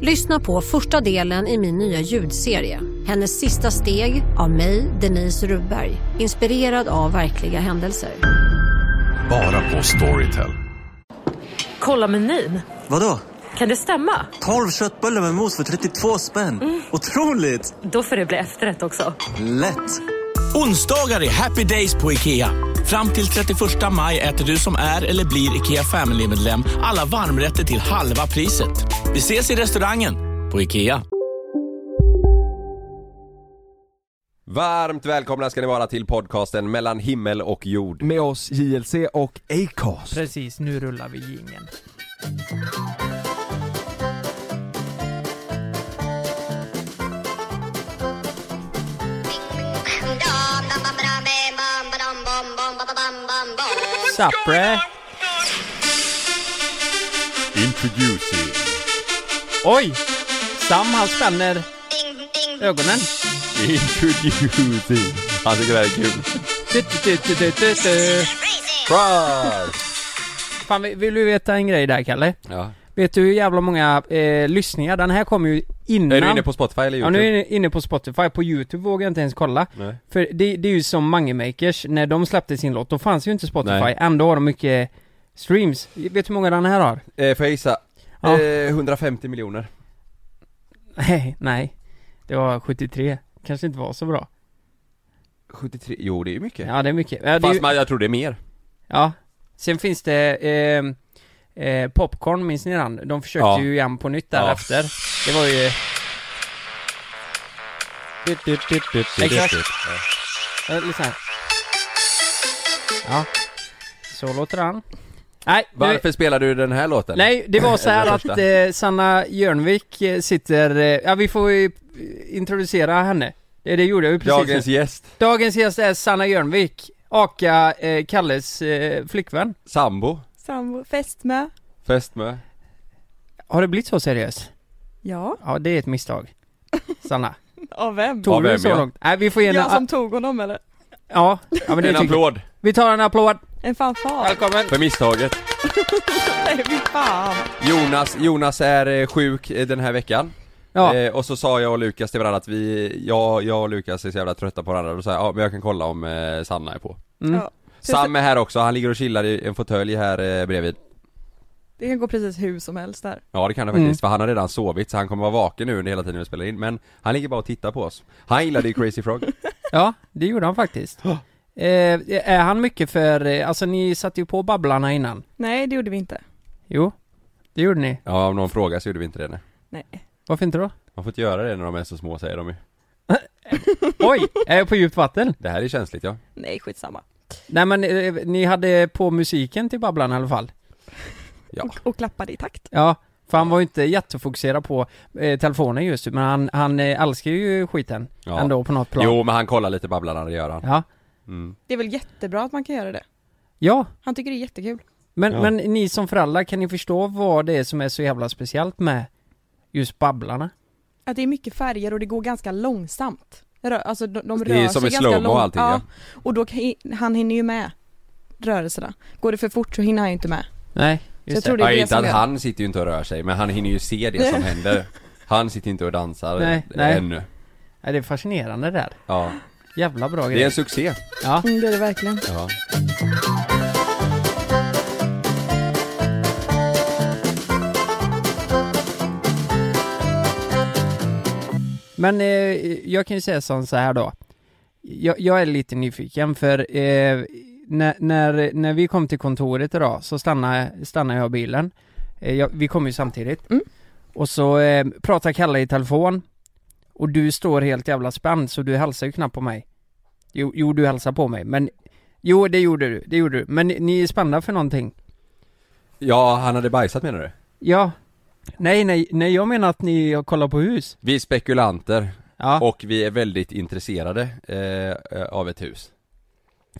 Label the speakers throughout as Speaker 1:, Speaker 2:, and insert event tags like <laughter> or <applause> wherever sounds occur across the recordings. Speaker 1: Lyssna på första delen i min nya ljudserie. Hennes sista steg av mig, Denise Rubberg. Inspirerad av verkliga händelser.
Speaker 2: Bara på Storytel.
Speaker 3: Kolla menyn.
Speaker 4: Vadå?
Speaker 3: Kan det stämma?
Speaker 4: 12 köttbullar med mos för 32 spänn.
Speaker 3: Mm.
Speaker 4: Otroligt!
Speaker 3: Då får det bli efterrätt också.
Speaker 4: Lätt!
Speaker 5: Onsdagar är happy days på IKEA. Fram till 31 maj äter du som är eller blir IKEA Family-medlem alla varmrätter till halva priset. Vi ses i restaurangen på IKEA.
Speaker 6: Varmt välkomna ska ni vara till podcasten mellan himmel och jord.
Speaker 7: med oss JLC och Acast.
Speaker 8: Precis, nu rullar vi jingeln. Sapre!
Speaker 2: Introducing.
Speaker 8: Oj! Sam, han spänner ögonen.
Speaker 2: Introducing. Han tycker det här är kul.
Speaker 8: Du, du, du, du, du, du. Fan, vi- vill du veta en grej där, Kalle?
Speaker 6: Ja.
Speaker 8: Vet du hur jävla många eh, lyssningar? Den här kom ju innan...
Speaker 6: Är du inne på Spotify eller
Speaker 8: Ja,
Speaker 6: YouTube?
Speaker 8: nu är jag inne- inne på Spotify. På YouTube vågar jag inte ens kolla.
Speaker 6: Nej.
Speaker 8: För det, det är ju som Mangemakers, när de släppte sin låt, då fanns ju inte Spotify.
Speaker 6: Nej.
Speaker 8: Ändå har de mycket streams. Vet du hur många den här har? <laughs>
Speaker 6: Eh, får jag gissa?
Speaker 8: Ja.
Speaker 6: Eh, 150 miljoner.
Speaker 8: Nej, nej. Det var 73. Kanske inte var så bra.
Speaker 6: 73, jo det är ju mycket.
Speaker 8: Ja, det är mycket. Ja, det är,
Speaker 6: Fast
Speaker 8: ju-
Speaker 6: man, jag tror det är mer.
Speaker 8: ja. Sen finns det eh, eh, Popcorn, minns ni den? De försökte
Speaker 6: Ja.
Speaker 8: ju igen på nytt där
Speaker 6: Ja.
Speaker 8: efter. Det var ju... Exakt. Eh, lyssna här. Ja. Så låter han. Nej, nu-
Speaker 6: Varför spelar du den här låten?
Speaker 8: Nej, det var så här
Speaker 6: Den
Speaker 8: att
Speaker 6: första.
Speaker 8: eh, Sanna Jörnvik eh, sitter... Eh, ja, vi får ju eh, introducera henne. Det, det gjorde jag ju precis.
Speaker 6: Dagens gäst,
Speaker 8: Dagens gäst är Sanna Jörnvik, aka eh, Kalles eh, flickvän.
Speaker 6: sambo,
Speaker 3: Sambo, fästmö.
Speaker 6: fästmö.
Speaker 8: Har det blivit så seriöst?
Speaker 3: Ja,
Speaker 8: Ja, det är
Speaker 3: <laughs>
Speaker 8: ett misstag. Sanna.
Speaker 3: av vem?
Speaker 8: Tog
Speaker 6: Av
Speaker 8: du det
Speaker 6: vem,
Speaker 8: så
Speaker 6: ja?
Speaker 8: långt? Nej, vi får ge en...
Speaker 3: Jag som tog honom eller?
Speaker 8: Ja, ja men det
Speaker 6: En
Speaker 8: tycker jag.
Speaker 6: applåd
Speaker 8: Vi tar en applåd.
Speaker 3: En fanfar?
Speaker 8: Välkommen.
Speaker 6: för misstaget.
Speaker 3: Nej, fy fan.
Speaker 6: Jonas, Jonas är eh, sjuk eh, den här veckan.
Speaker 8: Ja,
Speaker 6: Eh, och så sa jag och Lukas till varandra att vi, jag, jag och Lukas är så jävla trötta på varandra, och då sa jag ja men jag kan kolla om eh, Sanna är på.
Speaker 8: Mm.
Speaker 3: Ja.
Speaker 6: Sam är här också, han ligger och chillar i en fåtölj här eh, bredvid.
Speaker 3: Det kan gå precis hur som helst där.
Speaker 6: Ja det kan han
Speaker 8: Mm.
Speaker 6: faktiskt, för han har redan sovit så han kommer vara vaken nu under hela tiden vi spelar in, men han ligger bara och tittar på oss. Han gillade ju Crazy Frog.
Speaker 8: ja, det gjorde han faktiskt. Eh, är han mycket för... eh, Alltså ni satte ju på Babblarna innan.
Speaker 3: Nej, det gjorde vi inte.
Speaker 8: Jo, det gjorde ni.
Speaker 6: Ja om någon frågar så gjorde vi inte det nej.
Speaker 3: Nej.
Speaker 8: Varför inte då?
Speaker 6: Man får inte göra det när de är så små säger de ju.
Speaker 8: <laughs> Oj, är jag på djupt vatten?
Speaker 6: Det här är känsligt ja.
Speaker 3: Nej, skitsamma.
Speaker 8: Nej men eh, ni hade på musiken till Babblarna i alla fall.
Speaker 6: Ja.
Speaker 3: Och klappade i takt.
Speaker 8: Ja, för han var ju inte jättefokuserad på eh, telefonen just men han, han eh, älskar ju skiten
Speaker 6: Ja.
Speaker 8: ändå på något plan.
Speaker 6: Jo men han kollar lite Babblarna, det gör han.
Speaker 8: Ja,
Speaker 3: Det är väl jättebra att man kan göra det.
Speaker 8: ja.
Speaker 3: Han tycker det är jättekul.
Speaker 8: Men,
Speaker 6: Ja.
Speaker 8: men ni som föräldrar, kan ni förstå vad det är som är så jävla speciellt med just Babblarna?
Speaker 3: Att det är mycket färger och det går ganska långsamt. Rö- alltså de, de rör
Speaker 6: Det är som
Speaker 3: sig
Speaker 6: i
Speaker 3: ganska
Speaker 6: slow-mo
Speaker 3: lång-
Speaker 6: allting, ja.
Speaker 3: Och då kan, han hinner ju med rörelserna. Går det för fort så hinner han ju inte med.
Speaker 8: Nej,
Speaker 3: Så
Speaker 8: just
Speaker 3: jag tror det är
Speaker 6: ja,
Speaker 3: det
Speaker 6: inte
Speaker 3: som
Speaker 6: att
Speaker 3: gör.
Speaker 6: han sitter ju inte och rör sig, men han hinner ju se det som händer. Han sitter inte och dansar
Speaker 8: Nej, nej.
Speaker 6: ännu.
Speaker 8: Ja, det är fascinerande det där.
Speaker 6: Ja.
Speaker 8: Jävla bra
Speaker 6: Det är
Speaker 8: grej.
Speaker 6: en succé.
Speaker 8: Ja.
Speaker 3: Mm, det är det verkligen.
Speaker 6: Ja.
Speaker 8: Men eh, jag kan ju säga sån så här då. Jag, jag är lite nyfiken för eh, när, när, när vi kom till kontoret idag så stannade, stannade jag bilen. Eh, jag, vi kom ju samtidigt.
Speaker 3: Mm.
Speaker 8: Och så eh, pratar Kalle i telefon. Och du står helt jävla spänd så du hälsar ju knappt på mig. Jo, jo du hälsar på mig men Jo det gjorde du, det gjorde du. Men ni, ni är spända för någonting.
Speaker 6: ja, han hade bajsat menar du?
Speaker 8: Ja. Nej, nej, nej jag menar att ni kollar på hus.
Speaker 4: Vi är spekulanter och vi är väldigt intresserade eh, av ett hus.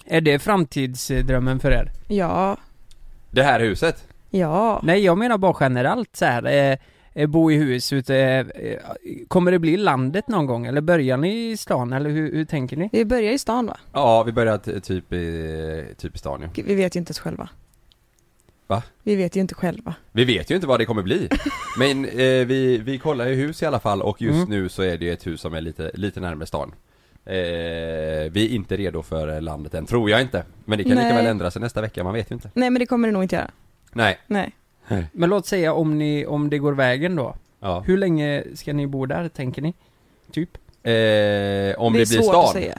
Speaker 8: Är det framtidsdrömmen för er?
Speaker 3: Ja.
Speaker 4: Det här huset?
Speaker 3: Ja.
Speaker 8: Nej, jag menar bara generellt så här. Eh, eh, bo i hus ute. Eh, kommer det bli landet någon gång? Eller börjar ni i stan? Eller hur, hur tänker ni?
Speaker 3: Vi börjar i stan va?
Speaker 4: Ja, vi börjar t- typ i, typ i stan ja.
Speaker 3: Gud, Vi vet ju inte ens själva.
Speaker 4: Va?
Speaker 3: Vi vet ju inte själva.
Speaker 4: Vi vet ju inte vad det
Speaker 3: <laughs>
Speaker 4: kommer bli. Men eh, vi, vi kollar ju hus i alla fall och just
Speaker 8: Mm.
Speaker 4: nu så är det ju ett hus som är lite, lite närmare stan. Eh, vi är inte redo för landet än, tror jag inte. Men det kan lika
Speaker 3: Nej.
Speaker 4: väl ändra sig nästa vecka, man vet ju inte.
Speaker 3: Nej men det kommer det nog inte göra.
Speaker 4: Nej.
Speaker 3: Nej.
Speaker 8: Men låt säga om ni, om det går vägen då.
Speaker 4: Ja.
Speaker 8: Hur länge ska ni bo där, tänker ni? Typ?
Speaker 4: Eh, om det, blir stan. Eh,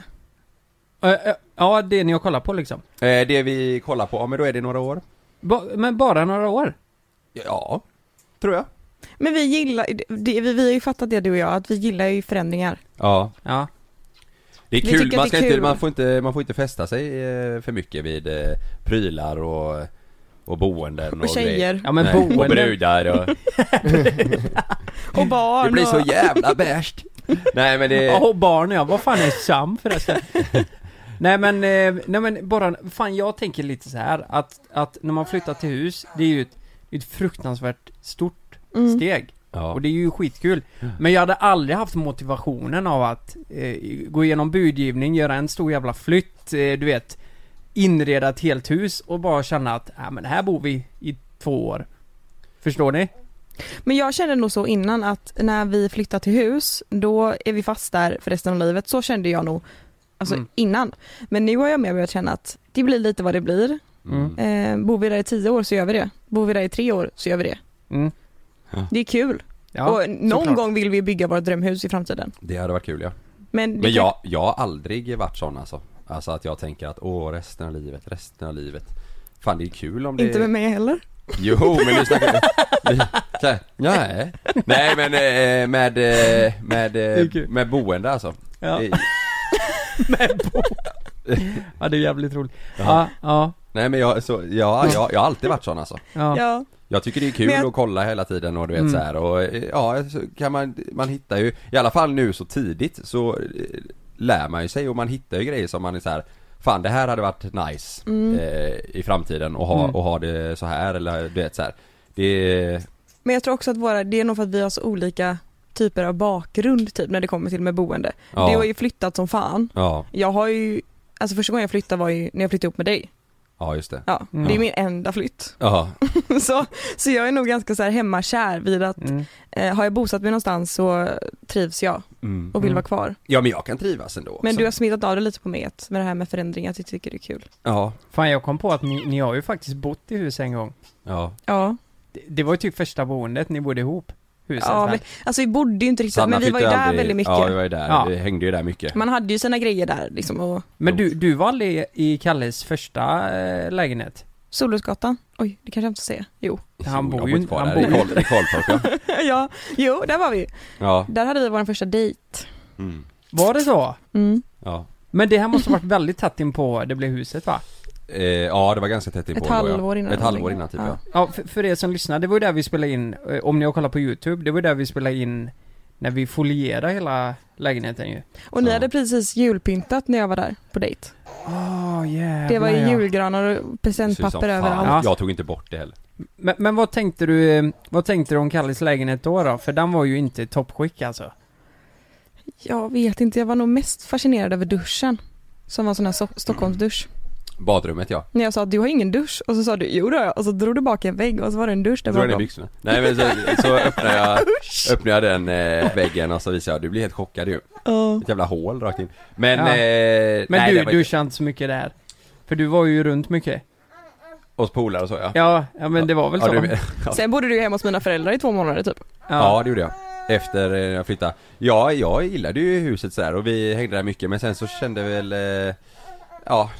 Speaker 8: Eh, eh, Ja, det ni har kollat på liksom.
Speaker 4: Eh, det vi kollar på, ja men då är det några år.
Speaker 8: Ba- men bara några år?
Speaker 4: Ja, tror jag.
Speaker 3: Men vi gillar, det, vi, vi har ju fattat det du och jag, att vi gillar ju förändringar.
Speaker 4: Ja.
Speaker 8: Ja.
Speaker 4: Det är
Speaker 3: Vi
Speaker 4: kul,
Speaker 3: tycker
Speaker 4: man,
Speaker 3: att det
Speaker 4: ska
Speaker 3: är
Speaker 4: Inte,
Speaker 3: kul.
Speaker 4: man, får inte, man får inte fästa sig eh, för mycket vid eh, prylar och, och boenden och,
Speaker 3: tjejer.
Speaker 4: grejer.
Speaker 3: Ja, men
Speaker 4: Nej, Och
Speaker 3: boenden.
Speaker 4: brudar
Speaker 8: <laughs>
Speaker 4: och...
Speaker 3: Och barn
Speaker 4: Det blir så
Speaker 3: och...
Speaker 4: jävla bäst! Nej men det...
Speaker 8: Ja, och barn ja. Vad fan är Sam förresten? nej men, eh, nej men bara, fan jag tänker lite så här att, att när man flyttar till hus, det är ju ett, ett fruktansvärt stort
Speaker 3: Mm.
Speaker 8: steg.
Speaker 4: Ja.
Speaker 8: Och det är ju skitkul. Men jag hade aldrig haft motivationen av att eh, gå igenom budgivning, göra en stor jävla flytt, eh, du vet, inreda ett helt hus och bara känna att, ja men här bor vi i två år. Förstår ni?
Speaker 3: Men jag kände nog så innan att när vi flyttar till hus, då är vi fast där för resten av livet. Så kände jag nog alltså
Speaker 8: Mm.
Speaker 3: innan. Men nu har jag mer börjat känna att det blir lite vad det blir.
Speaker 8: Mm.
Speaker 3: Eh, bor vi där i tio år så gör vi det. Bor vi där i tre år så gör vi det.
Speaker 8: Mm.
Speaker 3: Det är kul.
Speaker 8: Ja,
Speaker 3: och någon
Speaker 8: såklart.
Speaker 3: gång vill vi bygga vårt drömhus i framtiden.
Speaker 4: Det hade varit kul ja.
Speaker 3: Men, det
Speaker 4: Men
Speaker 3: kan-
Speaker 4: jag, jag har aldrig varit sån alltså. Alltså att jag tänker att åh resten av livet, resten av livet. Fan det är kul om det...
Speaker 3: Inte med mig heller.
Speaker 4: Jo men nu snackar vi... Så här, Nej. Nej men eh, med, eh, med, eh, med boende alltså.
Speaker 8: Ja.
Speaker 4: Det-
Speaker 8: Ja det är jävligt roligt.
Speaker 4: Ja.
Speaker 8: Ja, ja.
Speaker 4: Nej men jag, så, ja, jag, jag har alltid varit sån alltså.
Speaker 8: ja.
Speaker 3: Mm. Ja.
Speaker 4: Jag tycker det är kul
Speaker 3: Men jag-
Speaker 4: att kolla hela tiden och du vet
Speaker 8: Mm.
Speaker 4: så här och eh, ja, så kan man, man hittar ju, i alla fall nu så tidigt så eh, lär man ju sig och man hittar ju grejer som man är så här Fan det här hade varit nice
Speaker 3: Mm.
Speaker 4: eh, i framtiden och ha,
Speaker 8: Mm.
Speaker 4: och ha det så här eller du vet så här. Det,
Speaker 3: Men jag tror också att våra, det är nog för att vi har så olika typer av bakgrund typ när det kommer till med boende.
Speaker 4: Ja.
Speaker 3: Du har ju flyttat som fan.
Speaker 4: ja,
Speaker 3: Jag har ju, alltså första gången jag flyttade var ju när jag flyttade ihop med dig.
Speaker 4: ja just det.
Speaker 3: Ja,
Speaker 8: Mm.
Speaker 3: det är min enda flytt.
Speaker 4: Ja,
Speaker 3: så, så jag är nog ganska så här hemmakär vid att
Speaker 8: Mm.
Speaker 3: eh, har jag bosatt mig någonstans så trivs jag
Speaker 4: mm.
Speaker 3: och vill
Speaker 8: Mm.
Speaker 3: vara kvar.
Speaker 4: ja men jag kan trivas ändå också.
Speaker 3: Men du har smittat av dig lite på mig att- med det här med förändringar, att jag tycker det är kul.
Speaker 4: Ja,
Speaker 8: Fan jag kom på att ni, ni har ju faktiskt bott i hus en gång.
Speaker 4: ja.
Speaker 3: Ja,
Speaker 8: Det, det var ju typ första boendet ni bodde ihop. Huset
Speaker 3: ja
Speaker 8: här.
Speaker 3: men, alltså vi bodde ju inte riktigt, men vi
Speaker 4: fick
Speaker 3: var ju där
Speaker 4: aldrig-
Speaker 3: väldigt mycket.
Speaker 4: Ja vi var ju där,
Speaker 8: Ja.
Speaker 4: vi hängde ju där mycket.
Speaker 3: Man hade ju sina grejer där liksom och
Speaker 8: Men du, du var aldrig i Kalles första eh, lägenhet?
Speaker 3: Solrosgatan, oj det kanske jag inte ska säga, jo.
Speaker 4: Jo,
Speaker 8: Han
Speaker 4: jag
Speaker 8: bor
Speaker 4: var
Speaker 8: ju
Speaker 4: inte
Speaker 8: inte...
Speaker 4: kvar
Speaker 8: Han
Speaker 4: där
Speaker 8: bor
Speaker 4: i
Speaker 8: ju...
Speaker 4: Karl- i Karlstorp ja.
Speaker 3: ja, jo där var vi
Speaker 4: Ja,
Speaker 3: Där hade vi vår första dejt.
Speaker 4: mm.
Speaker 8: Var det så?
Speaker 3: Mm.
Speaker 4: ja.
Speaker 8: Men det här måste ha varit väldigt tätt in på det blev huset va?
Speaker 4: Eh, ja det var ganska tätt inpå
Speaker 3: Ett
Speaker 4: ändå, ja.
Speaker 3: halvår innan.
Speaker 4: Ett halvår innan typ ja.
Speaker 8: Ja, för, för er som lyssnar, det var ju där vi spelade in, eh, om ni har kollat på YouTube, det var ju där vi spelade in när vi folierade hela lägenheten ju.
Speaker 3: Och ni
Speaker 4: Ja.
Speaker 3: hade precis julpyntat när jag var där på dejt.
Speaker 8: Åh jävlar
Speaker 3: Det var ju
Speaker 8: ja.
Speaker 3: julgranar och
Speaker 4: Det
Speaker 3: presentpapper
Speaker 4: ser ut som fan.
Speaker 3: överallt.
Speaker 8: Ja.
Speaker 4: Jag tog inte bort det heller.
Speaker 8: Men, men vad tänkte du, eh, vad tänkte du om Kalles lägenhet då då? För den var ju inte i toppskick alltså.
Speaker 3: Jag vet inte, jag var nog mest fascinerad över duschen. Som var en sån här so- Stockholmsdusch.
Speaker 4: Badrummet ja.
Speaker 3: När jag sa att du har ingen dusch och så sa du jo det har jag och så drog du bak en vägg och så var det en dusch där
Speaker 4: Dra ner
Speaker 3: bakom.
Speaker 4: byxorna. Nej men så, så öppnade jag, öppnade jag den eh, väggen och så visade jag, du blir helt chockad ju.
Speaker 3: Ja.
Speaker 4: Ett jävla hål rakt in. Men,
Speaker 8: Ja.
Speaker 4: eh,
Speaker 8: Men
Speaker 4: nej,
Speaker 8: du,
Speaker 4: det var-
Speaker 8: du kände inte så mycket där. För du var ju runt mycket.
Speaker 4: Oss polare och så ja.
Speaker 8: Ja, ja men det var väl så.
Speaker 4: Ja, du, ja.
Speaker 3: Sen bodde du ju hemma hos mina föräldrar i två månader typ.
Speaker 4: ja det gjorde jag. Efter eh, jag flyttade. Ja, jag gillade ju huset sådär och vi hängde där mycket men sen så kände väl, eh, ja.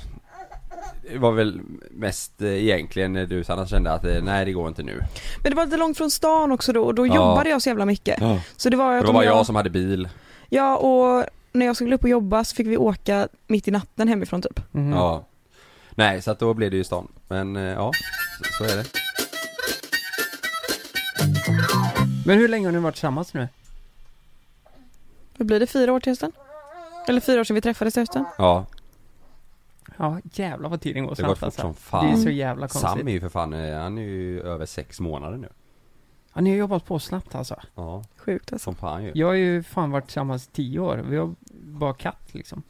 Speaker 4: Det var väl mest eh, egentligen eh, du Sanna kände att eh, nej det går inte nu.
Speaker 3: Men det var lite långt från stan också då och då
Speaker 4: Ja.
Speaker 3: jobbade jag så jävla mycket.
Speaker 4: Ja.
Speaker 3: Så det var ju
Speaker 4: Det
Speaker 3: att
Speaker 4: var
Speaker 3: om
Speaker 4: bara jag som hade bil.
Speaker 3: Ja och när jag skulle upp och jobba så fick vi åka mitt i natten hemifrån typ.
Speaker 8: Mhm.
Speaker 4: Ja. Nej, så att då blev det ju stan. Men eh, ja, så, så är det.
Speaker 8: Men hur länge har ni varit tillsammans nu?
Speaker 3: Då blir det fyra år till hösten. Eller fyra år sedan vi träffades till hösten.
Speaker 6: Ja,
Speaker 8: Ja, jävlar vad tiden går
Speaker 6: det går
Speaker 8: snabbt
Speaker 6: fort
Speaker 8: alltså.
Speaker 6: som fan.
Speaker 8: Det är så jävla konstigt.
Speaker 6: Sam är ju för fan, eh, han är ju över sex månader nu.
Speaker 8: Ja, ni har jobbat på snabbt alltså.
Speaker 6: Ja.
Speaker 3: Sjukt alltså.
Speaker 6: Som fan ju.
Speaker 8: Jag har ju fan varit tillsammans i tio år. Vi har bara katt liksom.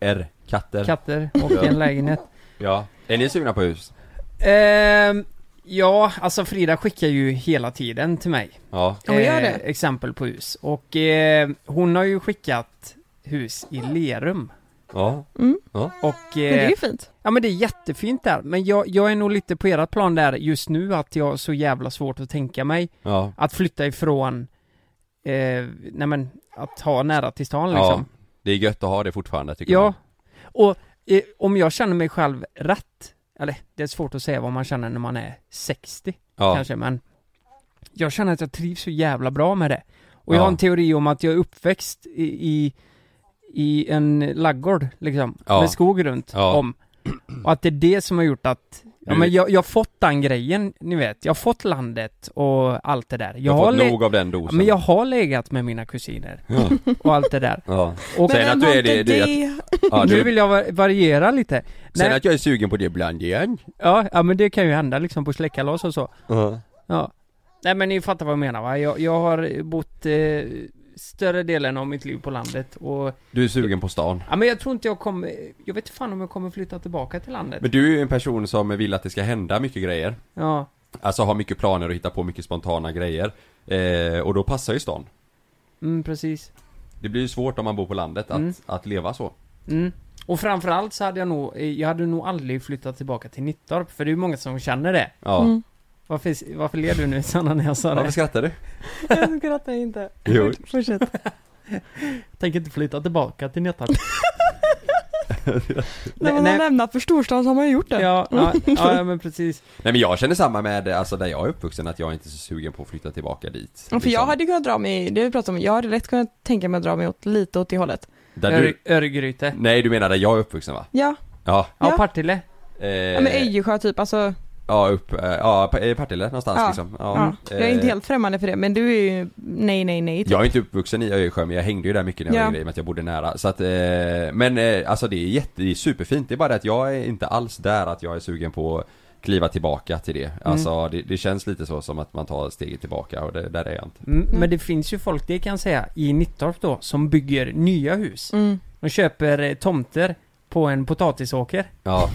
Speaker 6: R. Katter.
Speaker 8: Katter och en lägenhet.
Speaker 6: Ja. Är ni sugna på hus?
Speaker 8: Ehm, ja, alltså Frida skickar ju hela tiden till mig.
Speaker 6: Ja.
Speaker 3: Ja, men gör det.
Speaker 8: Eh, exempel på hus. Och eh, hon har ju skickat hus i Lerum.
Speaker 6: Ja.
Speaker 3: Mm.
Speaker 6: Ja.
Speaker 8: Och,
Speaker 3: Men det är
Speaker 8: eh,
Speaker 3: ju fint.
Speaker 8: ja men det är jättefint där. Men jag, jag är nog lite på ert plan där just nu att jag har så jävla svårt att tänka mig
Speaker 6: Ja.
Speaker 8: att flytta ifrån, eh, nej men, att ha nära till stan
Speaker 6: ja.
Speaker 8: liksom.
Speaker 6: Det är gött att ha det fortfarande tycker
Speaker 8: Ja,
Speaker 6: jag.
Speaker 8: och eh, om jag känner mig själv rätt, eller det är svårt att säga vad man känner när man är 60
Speaker 6: Ja.
Speaker 8: kanske, men jag känner att jag trivs så jävla bra med det. Och jag
Speaker 6: Ja.
Speaker 8: har en teori om att jag är uppväxt i, i, i en laggård liksom,
Speaker 6: Ja.
Speaker 8: med skog runt
Speaker 6: Ja.
Speaker 8: om. Och att det är det som har gjort att Ja,
Speaker 6: Du-
Speaker 8: men jag, jag har fått den grejen, ni vet. Jag har fått landet och allt det där.
Speaker 6: Jag har fått
Speaker 8: le-
Speaker 6: nog av den
Speaker 8: Ja,
Speaker 6: dosen.
Speaker 8: men jag har legat med mina kusiner
Speaker 6: Ja.
Speaker 8: och allt det där.
Speaker 6: ja.
Speaker 8: Och
Speaker 6: Sen att du är det, det, att, ja,
Speaker 8: nu
Speaker 6: du,
Speaker 8: vill jag va- variera lite.
Speaker 6: sen
Speaker 8: Nej,
Speaker 6: att jag är sugen på det ibland igen.
Speaker 8: ja, ja, men det kan ju hända liksom på släktkalas och så.
Speaker 6: Ja.
Speaker 8: Ja. Nej men ni fattar vad jag menar va? Jag, jag har bott eh, större delen av mitt liv på landet och
Speaker 6: Du är sugen på stan.
Speaker 8: ja, men jag tror inte jag kommer, jag vet fan om jag kommer flytta tillbaka till landet.
Speaker 6: Men du är ju en person som vill att det ska hända mycket grejer.
Speaker 8: Ja,
Speaker 6: Alltså har mycket planer och hitta på mycket spontana grejer. Eh, och då passar ju stan.
Speaker 8: mm, precis.
Speaker 6: Det blir ju svårt om man bor på landet att,
Speaker 8: Mm.
Speaker 6: att leva så.
Speaker 8: Mm. Och framförallt så hade jag nog, eh, jag hade nog aldrig flyttat tillbaka till Nittorp för det är ju många som känner det.
Speaker 6: Ja.
Speaker 3: Mm.
Speaker 8: Varför, varför ler du nu Sanna när jag sa
Speaker 6: Varför
Speaker 8: det?
Speaker 6: skrattar du?
Speaker 3: Jag skrattar inte.
Speaker 6: Jo.
Speaker 3: Fortsätt.
Speaker 8: Tänker inte flytta tillbaka till Nittorp.
Speaker 3: När man har lämnat för storstan så har man ju gjort det.
Speaker 8: Ja, ja, ja, men precis.
Speaker 6: Nej men jag känner samma med, alltså där jag är uppvuxen, att jag inte är så sugen på att flytta tillbaka dit.
Speaker 3: Ja, för jag hade kunnat dra mig, det har vi pratat om, jag hade lätt kunnat tänka mig att dra mig åt, lite åt det hållet.
Speaker 6: Där
Speaker 8: Ör,
Speaker 6: du...
Speaker 8: Örgryte.
Speaker 6: Nej du menar där jag är uppvuxen va?
Speaker 3: Ja,
Speaker 6: Ja.
Speaker 8: Ja,
Speaker 3: Ja.
Speaker 8: Partille.
Speaker 6: Eh,
Speaker 3: ja men Öjersjö typ, alltså,
Speaker 6: ja, upp, eh, ja, Pa- eh, Partille någonstans
Speaker 3: Ja.
Speaker 6: liksom.
Speaker 3: ja. jag är inte
Speaker 6: Eh,
Speaker 3: helt främmande för det, men du är ju nej, nej, nej. Typ.
Speaker 6: Jag är inte uppvuxen i Öjersjö men jag hängde ju där mycket när jag
Speaker 3: Ja.
Speaker 6: var yngre i och med att jag bodde nära. Så att, eh, men eh, alltså det är jätte, det är superfint. Det är bara det att jag är inte alls där att jag är sugen på att kliva tillbaka till det.
Speaker 3: Mm.
Speaker 6: Alltså det, det känns lite så som att man tar steget tillbaka och det, där är jag inte.
Speaker 8: Mm. Men det finns ju folk, det kan jag säga, i Nittorp då, som bygger nya hus.
Speaker 3: Mm.
Speaker 8: De köper eh, tomter på en potatisåker.
Speaker 6: Ja,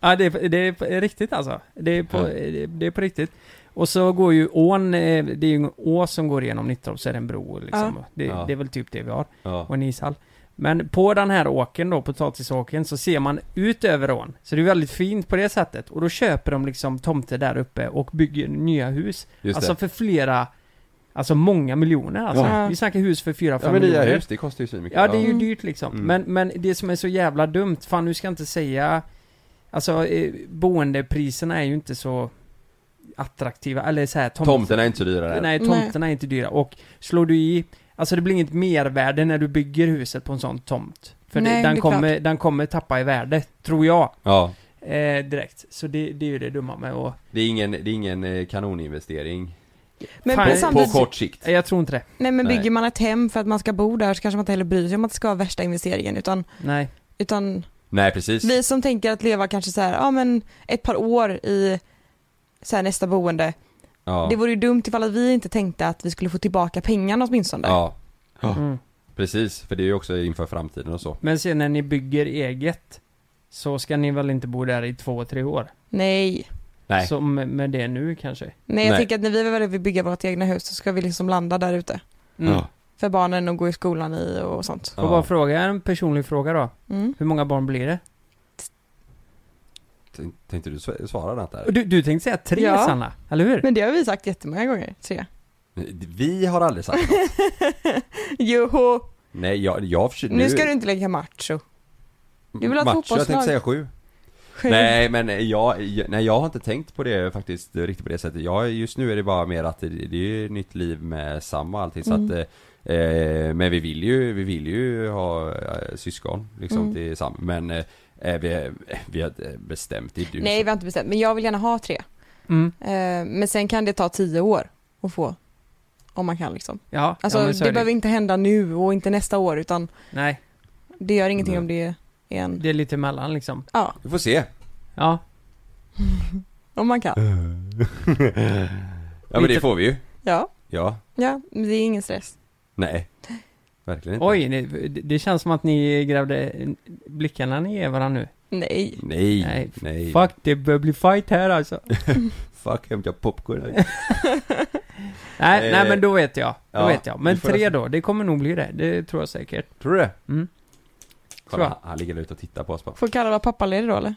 Speaker 8: Ja, det, är- det är på- riktigt alltså. Det är, på,
Speaker 6: Ja.
Speaker 8: det, det är på riktigt. Och så går ju ån, eh, det är ju en å som går igenom Nittorp, så är det en bro liksom. Det,
Speaker 6: Ja.
Speaker 8: det är väl typ det vi har.
Speaker 6: ja.
Speaker 8: Och en ishall. Men på den här åken då, potatisåken, så ser man ut över ån. Så det är väldigt fint på det sättet. Och då köper de liksom tomter där uppe och bygger nya hus.
Speaker 6: just
Speaker 8: alltså
Speaker 6: det.
Speaker 8: för flera, alltså många miljoner alltså.
Speaker 3: Ja.
Speaker 8: Vi snackar hus för fyra
Speaker 6: Ja
Speaker 8: fem
Speaker 6: men nya
Speaker 8: miljoner.
Speaker 6: hus, det kostar ju så mycket.
Speaker 8: Ja, det är ju
Speaker 3: Mm.
Speaker 8: dyrt liksom.
Speaker 6: Mm.
Speaker 8: Men, men det som är så jävla dumt, fan du ska inte säga, alltså eh, boendepriserna är ju inte så attraktiva, eller så här, tomt-
Speaker 6: Tomterna är inte så dyra där.
Speaker 8: Nej, tomterna är inte dyra. Och slår du i, alltså det blir inget mervärde när du bygger huset på en sån tomt. För
Speaker 3: Nej,
Speaker 8: det, den,
Speaker 3: det är
Speaker 8: kommer, den kommer tappa i värde, tror jag,
Speaker 6: Ja.
Speaker 8: eh, direkt. Så det, det är ju det dumma med att...
Speaker 6: Det är ingen, det är ingen eh, kanoninvestering.
Speaker 3: Men,
Speaker 8: Fan,
Speaker 3: men
Speaker 8: på-
Speaker 6: På
Speaker 3: samtidigt,
Speaker 6: kort sikt.
Speaker 8: Nej, Jag tror inte det.
Speaker 3: nej men
Speaker 6: Nej.
Speaker 3: bygger man ett hem för att man ska bo där så kanske man inte heller bryr sig om att det ska vara värsta investeringen utan,
Speaker 8: Nej.
Speaker 3: utan
Speaker 6: Nej precis.
Speaker 3: vi som tänker att leva kanske så här, ja men ett par år i så här, nästa boende.
Speaker 6: Ja.
Speaker 3: Det vore ju dumt ifall att vi inte tänkte att vi skulle få tillbaka pengarna åtminstone.
Speaker 6: ja.
Speaker 8: Mm.
Speaker 6: Precis, för det är ju också inför framtiden och så.
Speaker 8: Men sen när ni bygger eget så ska ni väl inte bo där i två, tre år?
Speaker 3: Nej.
Speaker 6: Nej.
Speaker 8: Som med det nu kanske?
Speaker 3: Nej jag
Speaker 6: Nej.
Speaker 3: tänker att när vi väl vill bygga vårt egna hus så ska vi liksom landa där ute.
Speaker 8: Mm.
Speaker 6: Ja.
Speaker 3: För barnen att gå i skolan i och sånt.
Speaker 8: Får bara fråga en personlig fråga då.
Speaker 3: Mm.
Speaker 8: Hur många barn blir det?
Speaker 6: Tänk- Tänkte du sv- svara något där?
Speaker 8: Du, du tänkte säga tre
Speaker 3: Ja.
Speaker 8: Sanna, eller hur?
Speaker 3: Men det har vi sagt jättemånga gånger, tre.
Speaker 6: Vi har
Speaker 3: <laughs>
Speaker 6: aldrig sagt något.
Speaker 3: Joho!
Speaker 6: Nej, jag, jag försöker...
Speaker 3: Nu ska du inte lägga macho. du vill ha ett
Speaker 6: Macho, jag
Speaker 3: fotbollslag.
Speaker 6: tänkte säga sju. Nej, men jag, jag- nej, jag har inte tänkt på det faktiskt eh, riktigt på det sättet. Jag, just nu är det bara mer att det, det är ju nytt liv med Sam och allting så
Speaker 3: Mm.
Speaker 6: att eh, eh, men vi vill ju, vi vill ju ha eh, syskon liksom
Speaker 3: Mm.
Speaker 6: till Sam. Men eh, eh, vi, vi har eh, bestämt det. är Du,
Speaker 3: Nej, vi har inte bestämt. Men jag vill gärna ha tre.
Speaker 8: Mm.
Speaker 3: Eh, men sen kan det ta tio år att få om man kan liksom.
Speaker 8: Ja,
Speaker 3: Alltså
Speaker 8: ja, men
Speaker 3: det,
Speaker 8: så är det.
Speaker 3: behöver inte hända nu och inte nästa år utan
Speaker 8: Nej,
Speaker 3: det gör ingenting
Speaker 8: Nej.
Speaker 3: om det är en,
Speaker 8: det är lite emellan liksom.
Speaker 3: ja,
Speaker 6: Vi får se.
Speaker 8: Ja,
Speaker 3: om man kan.
Speaker 6: Ja men det får vi ju.
Speaker 3: Ja,
Speaker 6: Ja.
Speaker 3: ja, men det är ingen stress.
Speaker 6: Nej. Verkligen inte.
Speaker 8: oj, det, det känns som att ni grävde blickarna ner i varandra nu.
Speaker 3: Nej.
Speaker 6: Nej.
Speaker 8: Nej,
Speaker 6: Nej. Nej.
Speaker 8: Fuck, det bör bli fight här alltså.
Speaker 6: Fuck hämta
Speaker 8: <laughs>
Speaker 6: popcorn.
Speaker 8: Nej,
Speaker 6: Eh,
Speaker 8: nej men då vet jag. Då
Speaker 6: ja,
Speaker 8: vet jag. Men
Speaker 6: vi får
Speaker 8: tre
Speaker 6: nästan-
Speaker 8: då, det kommer nog bli det. Det tror jag säkert.
Speaker 6: Tror du det?
Speaker 8: Mm.
Speaker 6: Kolla,
Speaker 8: Tror
Speaker 6: han ligger där ute och tittar på oss bara.
Speaker 3: Får Kalle vara pappaledig då eller?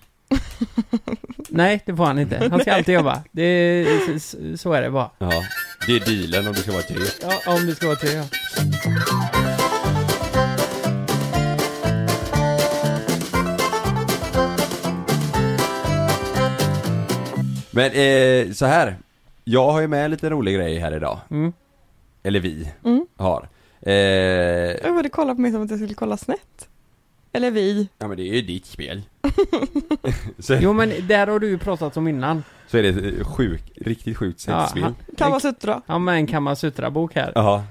Speaker 8: Nej, det får han inte.
Speaker 6: <laughs>
Speaker 8: Han ska alltid jobba. Det, är- s- s- så är det bara.
Speaker 6: Ja. Det är dealen om du ska vara tre.
Speaker 8: Ja, om det ska vara tre ja.
Speaker 6: Men eh, så här. Jag har ju med en liten rolig grej här idag.
Speaker 8: Mm.
Speaker 6: Eller vi
Speaker 3: Mm.
Speaker 6: har. Eh,
Speaker 3: Jag borde kolla på mig som att jag skulle kolla snett. Eller vi.
Speaker 6: ja men det är ju ditt spel. så,
Speaker 8: Jo men där har du ju pratat om innan.
Speaker 6: så är det ett sjukt, riktigt sjukt sexspel.
Speaker 8: han-
Speaker 3: Kan vara suttra.
Speaker 8: Ja men en Kamasutra-bok här.
Speaker 6: Ja,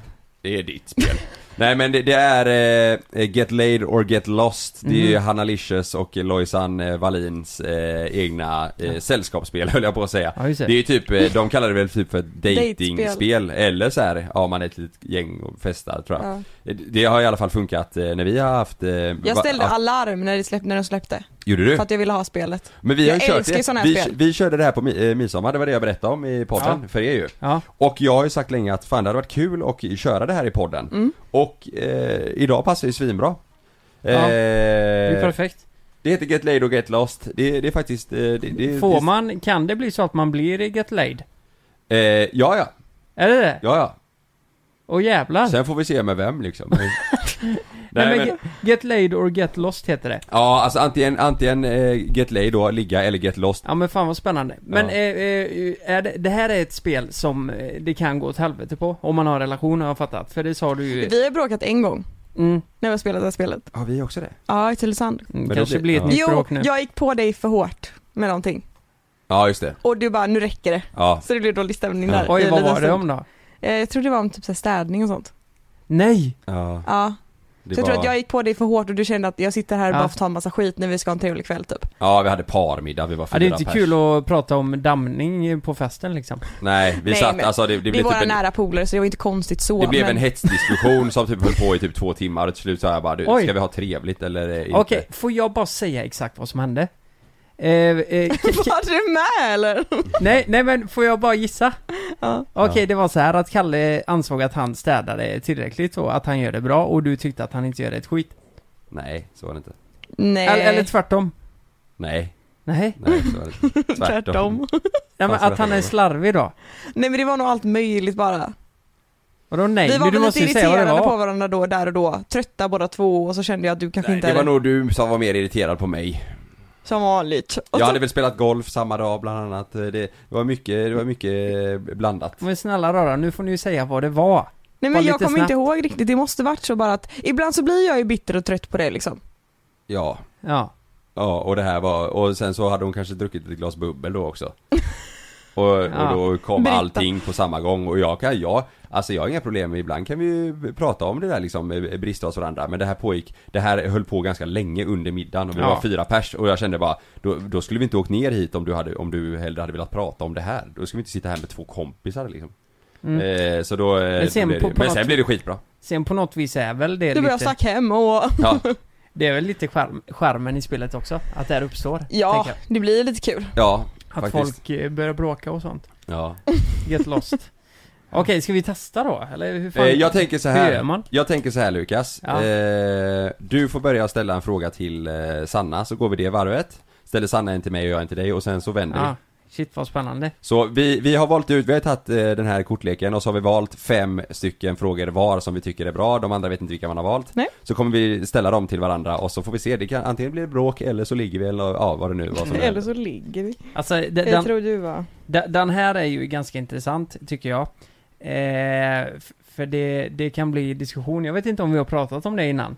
Speaker 6: det är ditt spel. <laughs> Nej men det, det är eh, Get Laid or Get Lost. Det är
Speaker 8: Mhm.
Speaker 6: ju Hanna Licious och Lojsan eh, Wallins eh, egna eh, sällskapsspel <laughs> höll jag på att säga.
Speaker 8: Ja, just det.
Speaker 6: Det är ju typ, eh, de kallar det väl typ för datingspel
Speaker 3: Datespel.
Speaker 6: eller så här, ja man är ett litet gäng och festar tror jag. Eh,
Speaker 3: Ja.
Speaker 6: Det, det har i alla fall funkat eh, när vi har haft... eh,
Speaker 3: Jag
Speaker 6: va-
Speaker 3: ställde
Speaker 6: ja,
Speaker 3: alarm när, det släpp, när de släppte.
Speaker 6: Gjorde du?
Speaker 3: För att jag ville ha spelet.
Speaker 6: Men vi har ju
Speaker 3: jag
Speaker 6: kört
Speaker 3: älskar ju såna
Speaker 6: det.
Speaker 3: här
Speaker 6: Vi,
Speaker 3: spel.
Speaker 6: vi körde det här på mi- eh, midsommar, det var det jag berättade om i podden för er ju.
Speaker 8: Ja.
Speaker 6: Och jag har ju sagt länge att fan det hade varit kul att köra det här i podden. Och eh, idag passar ju svinbra.
Speaker 8: Mm. Ja, Det är
Speaker 6: Eh,
Speaker 8: perfekt.
Speaker 6: det heter Get Laid och Get Lost. Det, det är faktiskt... Eh, det, det,
Speaker 8: Får
Speaker 6: det,
Speaker 8: man, kan det bli så att man blir get laid?
Speaker 6: Eh, ja, ja,
Speaker 8: Är det det?
Speaker 6: ja,
Speaker 8: Åh jävlar.
Speaker 6: ja. Sen får vi se med vem liksom. <laughs>
Speaker 8: Nej,
Speaker 6: Nej,
Speaker 8: men,
Speaker 6: men,
Speaker 8: Get, get laid or get lost heter det.
Speaker 6: ja, alltså antingen, antingen eh, Get Laid då, ligga, eller Get Lost.
Speaker 8: Ja men fan vad spännande. Men
Speaker 6: Ja.
Speaker 8: eh, eh, är det, det här är ett spel som eh, det kan gå åt helvete på om man har en relation har jag fattat. För det sa du ju.
Speaker 3: Vi har bråkat en gång
Speaker 8: Mm,
Speaker 3: när vi har spelat det här spelet.
Speaker 6: Har vi också det?
Speaker 3: Ja, i Tylösand.
Speaker 8: mm,
Speaker 6: då
Speaker 8: kanske
Speaker 6: blir-
Speaker 8: blir ett
Speaker 6: ja.
Speaker 8: nytt
Speaker 3: Jo,
Speaker 8: bråk nu.
Speaker 3: jag gick på dig för hårt med någonting.
Speaker 6: Ja, just det.
Speaker 3: Och du bara, nu räcker det.
Speaker 6: Ja.
Speaker 3: Så det blev dålig stämning där. i
Speaker 8: Oj
Speaker 3: en
Speaker 8: vad
Speaker 3: liten
Speaker 8: var det
Speaker 3: stund.
Speaker 8: om då?
Speaker 3: Eh, Jag tror det var om typ så här städning och sånt.
Speaker 8: Nej!
Speaker 6: ja
Speaker 3: Ja.
Speaker 6: det
Speaker 3: så jag
Speaker 6: var-
Speaker 3: tror att jag gick på dig för hårt och du kände att jag sitter här och
Speaker 8: Ja.
Speaker 3: bara får ta en massa skit när vi ska ha en trevlig kväll typ.
Speaker 6: Ja, vi hade parmiddag, vi var
Speaker 8: Ja,
Speaker 6: fyra
Speaker 8: det är inte
Speaker 6: pers.
Speaker 8: kul att prata om damning på festen liksom.
Speaker 6: Nej, vi
Speaker 3: Nej,
Speaker 6: satt,
Speaker 3: men
Speaker 6: alltså det, det
Speaker 3: vi är
Speaker 6: blev
Speaker 3: våra
Speaker 6: typ en,
Speaker 3: nära polare så det var inte konstigt så.
Speaker 6: Det blev
Speaker 3: men...
Speaker 6: en hetsdiskussion som typ höll på i typ två timmar och till slut sa jag bara du,
Speaker 8: Oj.
Speaker 6: ska vi ha trevligt eller eh, inte?
Speaker 8: Okej, får jag bara säga exakt vad som hände? Eh, eh, k- k-
Speaker 3: Var du med eller?
Speaker 8: nej, nej men får jag bara gissa?
Speaker 3: Ja.
Speaker 8: Okej, det var så här att Kalle ansåg att han städade tillräckligt och att han gör det bra och du tyckte att han inte gör ett skit.
Speaker 6: Nej, så var det inte.
Speaker 3: Nej.
Speaker 8: Eller, eller tvärtom.
Speaker 6: Nej,
Speaker 8: Nej.
Speaker 6: nej så var det inte.
Speaker 3: Tvärtom.
Speaker 8: <laughs> Nej men
Speaker 6: Fan, så
Speaker 8: att han är
Speaker 6: det-
Speaker 8: slarvig då?
Speaker 3: Nej men det var nog allt möjligt bara.
Speaker 8: Vadå nej?
Speaker 3: vi
Speaker 8: Du,
Speaker 3: var
Speaker 8: du
Speaker 3: väl
Speaker 8: måste
Speaker 3: lite
Speaker 8: ju säga vad det
Speaker 3: irriterade
Speaker 8: var.
Speaker 3: på varandra då, där och då. Trötta båda två och så kände jag att du kanske
Speaker 6: Nej,
Speaker 3: inte
Speaker 6: det var
Speaker 3: är
Speaker 6: nog du som var mer irriterad på mig.
Speaker 3: som vanligt. Och
Speaker 6: Jag
Speaker 3: så,
Speaker 6: hade väl spelat golf samma dag bland annat. Det, det var mycket, det var mycket blandat.
Speaker 8: Men snälla rara, nu får ni ju säga vad det var.
Speaker 3: nej
Speaker 8: var
Speaker 3: men jag
Speaker 8: lite
Speaker 3: kommer
Speaker 8: snabbt.
Speaker 3: inte ihåg riktigt, det måste varit så bara att ibland så blir jag ju bitter och trött på det liksom.
Speaker 6: Ja.
Speaker 8: Ja.
Speaker 6: Ja, och det här var, eh, och sen så hade hon kanske druckit ett glas bubbel då <laughs> också. Och, och då kom
Speaker 3: Britta.
Speaker 6: allting på samma gång och jag kan, jag, alltså jag har inga problem, ibland kan vi ju prata om det där liksom, eh, brister hos varandra. Men det här pågick, det här höll på ganska länge under middagen och vi
Speaker 8: Ja.
Speaker 6: var fyra pers och jag kände bara, då, då skulle vi inte åkt ner hit om du hade, om du hellre hade velat prata om det här. Då skulle vi inte sitta här med två kompisar liksom. Eh, så då, eh,
Speaker 8: Men sen
Speaker 6: då blev
Speaker 8: på-
Speaker 6: det,
Speaker 8: på
Speaker 6: men sen
Speaker 8: något-
Speaker 6: blev det skitbra.
Speaker 8: Sen på något vis är väl det
Speaker 3: Du bara, jag
Speaker 8: lite...
Speaker 3: stack hem och <laughs>
Speaker 6: Ja,
Speaker 8: Det är väl lite charm, charmen i spelet också, att det här uppstår.
Speaker 3: ja,
Speaker 8: tänker jag.
Speaker 3: det blir lite kul.
Speaker 6: ja
Speaker 8: Att
Speaker 6: faktiskt.
Speaker 8: folk eh, börjar bråka och sånt.
Speaker 6: Ja.
Speaker 8: <laughs> Get lost. Okej, ska vi testa då? Eller hur fan?
Speaker 6: Eh, jag tänker så
Speaker 8: Hur gör man?
Speaker 6: här. Jag tänker så här Lukas.
Speaker 8: Ja.
Speaker 6: Eh, du får börja ställa en fråga till eh, Sanna, så går vi det varvet. Ställer Sanna en till mig och jag en till dig och sen så vänder vi.
Speaker 8: Ja. Shit vad spännande.
Speaker 6: Så vi, vi har valt ut, vi har tagit eh, den här kortleken och så har vi valt fem stycken frågor var som vi tycker är bra, de andra vet inte vilka man har valt.
Speaker 3: Nej.
Speaker 6: Så kommer vi ställa dem till varandra och så får vi se, det kan antingen bli bråk eller så ligger vi eller ja vad det nu
Speaker 8: <laughs>
Speaker 6: var som
Speaker 3: Eller så ligger vi.
Speaker 8: Alltså, de-
Speaker 3: Jag
Speaker 8: den,
Speaker 3: tror du var...
Speaker 8: de- den här är ju ganska intressant, tycker jag. Eh, f- för det, det kan bli diskussion. Jag vet inte om vi har pratat om det innan.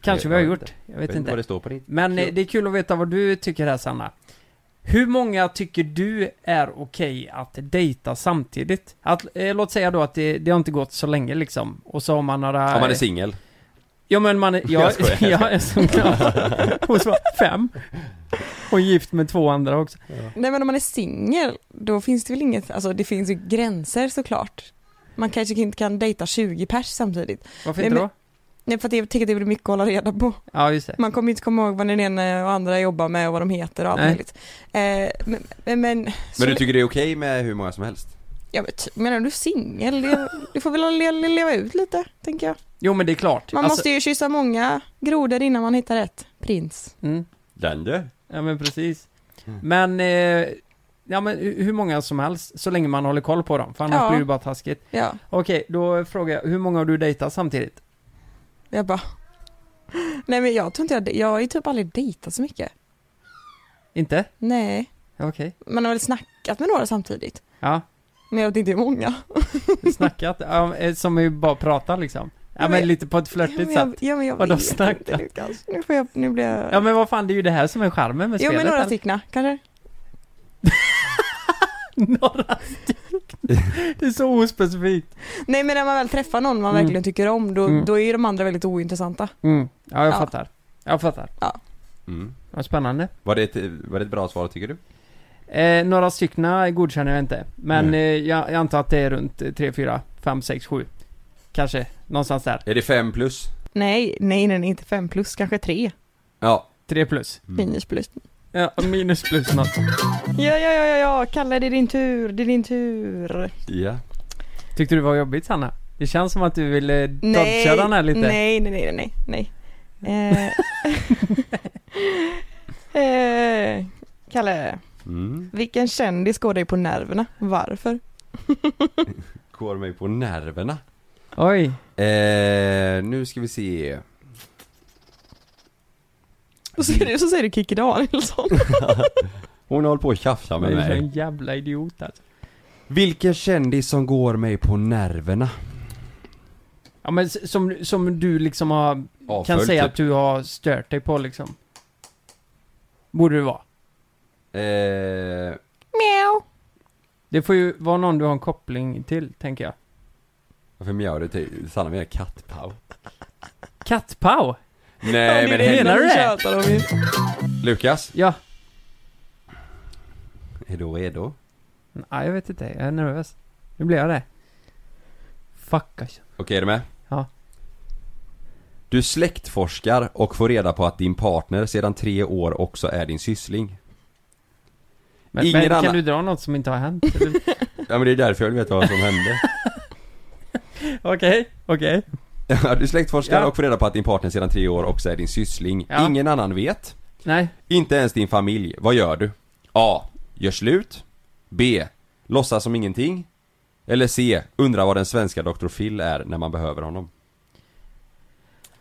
Speaker 8: Kanske
Speaker 6: Jag
Speaker 8: vi har
Speaker 6: vet
Speaker 8: gjort.
Speaker 6: inte.
Speaker 8: Jag vet
Speaker 6: vad
Speaker 8: inte.
Speaker 6: det står på din.
Speaker 8: Men eh, det är kul att veta vad du tycker här Sanna. Hur många tycker du är okej att dejta samtidigt? Att, eh, låt säga då att det, det har inte gått så länge liksom, och så har man några...
Speaker 6: Om man är singel.
Speaker 8: Ja
Speaker 6: <laughs>
Speaker 8: men man är... Jag,
Speaker 6: Jag
Speaker 8: <laughs>
Speaker 6: skojar.
Speaker 8: jag är som
Speaker 6: <laughs>
Speaker 8: Hon sa fem. Och gift med två andra också.
Speaker 3: Nej men om man är singel, då finns det väl inget, alltså det finns ju gränser såklart. Man kanske inte kan dejta 20 pers samtidigt.
Speaker 8: Varför
Speaker 3: Nej,
Speaker 8: inte
Speaker 3: men-
Speaker 8: då?
Speaker 3: Nej för att jag tänker att det blir mycket att hålla reda på.
Speaker 8: Ja, just det.
Speaker 3: Man kommer inte komma ihåg vad den ena och andra jobbar med och vad de heter och allt
Speaker 6: Nej.
Speaker 3: möjligt. Eh, men, men, men, så-
Speaker 6: Men du tycker det är okej med hur många som helst?
Speaker 3: ja, men ty- menar du singel? Det- Du får väl le- leva ut lite, tänker jag.
Speaker 8: Jo men det är klart.
Speaker 3: Man
Speaker 8: Alltså-
Speaker 3: måste ju kyssa många grodor innan man hittar rätt prins.
Speaker 8: Mm.
Speaker 6: Den du. Mm.
Speaker 8: Ja men precis. Men, eh, ja men hu- hur många som helst, så länge man håller koll på dem, för annars
Speaker 3: Ja.
Speaker 8: blir det bara taskigt.
Speaker 3: Ja.
Speaker 8: Okej, då frågar jag, hur många har du dejtat samtidigt?
Speaker 3: Jag bara... Nej men jag tror inte jag, jag har ju typ aldrig dejtat så mycket.
Speaker 8: Inte? <laughs>
Speaker 3: Nej.
Speaker 8: Ja, Okej.
Speaker 3: Man har väl snackat med några samtidigt.
Speaker 8: Ja,
Speaker 3: Men jag vet inte hur många.
Speaker 8: snackat, ja, eh, som ju bara pratar liksom. Ja,
Speaker 3: Ja,
Speaker 8: men,
Speaker 3: men-
Speaker 8: lite på ett
Speaker 3: ja,
Speaker 8: flörtigt
Speaker 3: men jag,
Speaker 8: sätt.
Speaker 3: ja, men jag
Speaker 8: Vadå
Speaker 3: vet inte
Speaker 8: snackat?
Speaker 3: Lukas. Nu får jag, nu blir jag...
Speaker 8: Ja men vad fan, det är ju det här som är charmen med
Speaker 3: jo
Speaker 8: spelet.
Speaker 3: men några
Speaker 8: eller?
Speaker 3: styckna kanske.
Speaker 8: Det är så ospecifikt.
Speaker 3: Nej men när man väl träffar någon man
Speaker 8: Mm.
Speaker 3: verkligen tycker om då,
Speaker 8: Mm.
Speaker 3: då är ju de andra väldigt ointressanta.
Speaker 8: Mm. Ja, jag
Speaker 3: Ja.
Speaker 8: fattar. Jag fattar.
Speaker 3: Ja.
Speaker 6: Mm.
Speaker 8: Vad spännande.
Speaker 6: Var det, ett, var det ett bra svar tycker du?
Speaker 8: Eh, några styckna godkänner jag inte. Men
Speaker 6: Mm.
Speaker 8: eh, jag, jag antar att det är runt 3, 4, 5, 6, 7. Kanske, någonstans där.
Speaker 6: Är det fem plus?
Speaker 3: Nej, nej nej inte fem plus, kanske tre.
Speaker 6: Ja.
Speaker 8: 3 plus.
Speaker 3: Minus plus.
Speaker 8: Ja, minus plus något.
Speaker 3: Ja ja ja ja ja, Kalle det är din tur, det är din tur.
Speaker 6: Ja.
Speaker 8: Tyckte du det var jobbigt Sanna? Det känns som att du ville
Speaker 3: Nej,
Speaker 8: dodga den här lite.
Speaker 3: nej nej nej nej nej. Eh, eh, <laughs> Kalle,
Speaker 6: Mm.
Speaker 3: vilken kändis går dig på nerverna? Varför?
Speaker 6: Går mig på nerverna.
Speaker 8: Oj.
Speaker 6: Eh, nu ska vi se.
Speaker 3: Och så, är det, så säger du Kikki Danielsson.
Speaker 6: Hon håller på att tjafsa
Speaker 8: Men
Speaker 6: med
Speaker 8: du är en
Speaker 6: mig.
Speaker 8: jävla idiot alltså.
Speaker 6: Vilken kändis som går mig på nerverna?
Speaker 8: Ja men s- som, som du liksom har, kan
Speaker 6: Avföljd,
Speaker 8: säga
Speaker 6: typ.
Speaker 8: att du har stört dig på liksom. Borde det vara.
Speaker 6: Eh,
Speaker 3: Miau.
Speaker 8: Det får ju vara någon du har en koppling till, tänker jag.
Speaker 6: varför mjau du till? Sanna menar
Speaker 8: <laughs>
Speaker 6: kattpaus.
Speaker 8: Kattpau!
Speaker 6: Nej men
Speaker 8: Menar
Speaker 6: henne...
Speaker 8: du det?
Speaker 3: tjatar om ju.
Speaker 6: Lukas?
Speaker 8: Ja.
Speaker 6: Är du redo?
Speaker 8: Nej, jag vet inte. Jag är nervös. Nu blir jag det. Fuck alltså.
Speaker 6: Okej, är du med?
Speaker 8: Ja.
Speaker 6: Du släktforskar och får reda på att din partner sedan tre år också är din syssling.
Speaker 8: Men,
Speaker 6: Ingen
Speaker 8: men kan
Speaker 6: annan-
Speaker 8: du dra något som inte har
Speaker 6: <laughs>
Speaker 8: hänt? eller?
Speaker 6: Ja men det är därför jag vill veta vad som hände. <laughs>
Speaker 8: Okej, okej.
Speaker 6: Ja, du släktforskar
Speaker 8: Ja.
Speaker 6: och får reda på att din partner sedan tre år också är din syssling.
Speaker 8: Ja.
Speaker 6: Ingen annan vet.
Speaker 8: Nej.
Speaker 6: Inte ens din familj. Vad gör du? A. Gör slut. B. Låtsas som ingenting. Eller C. Undrar vad den svenska Dr. Phil är när man behöver honom.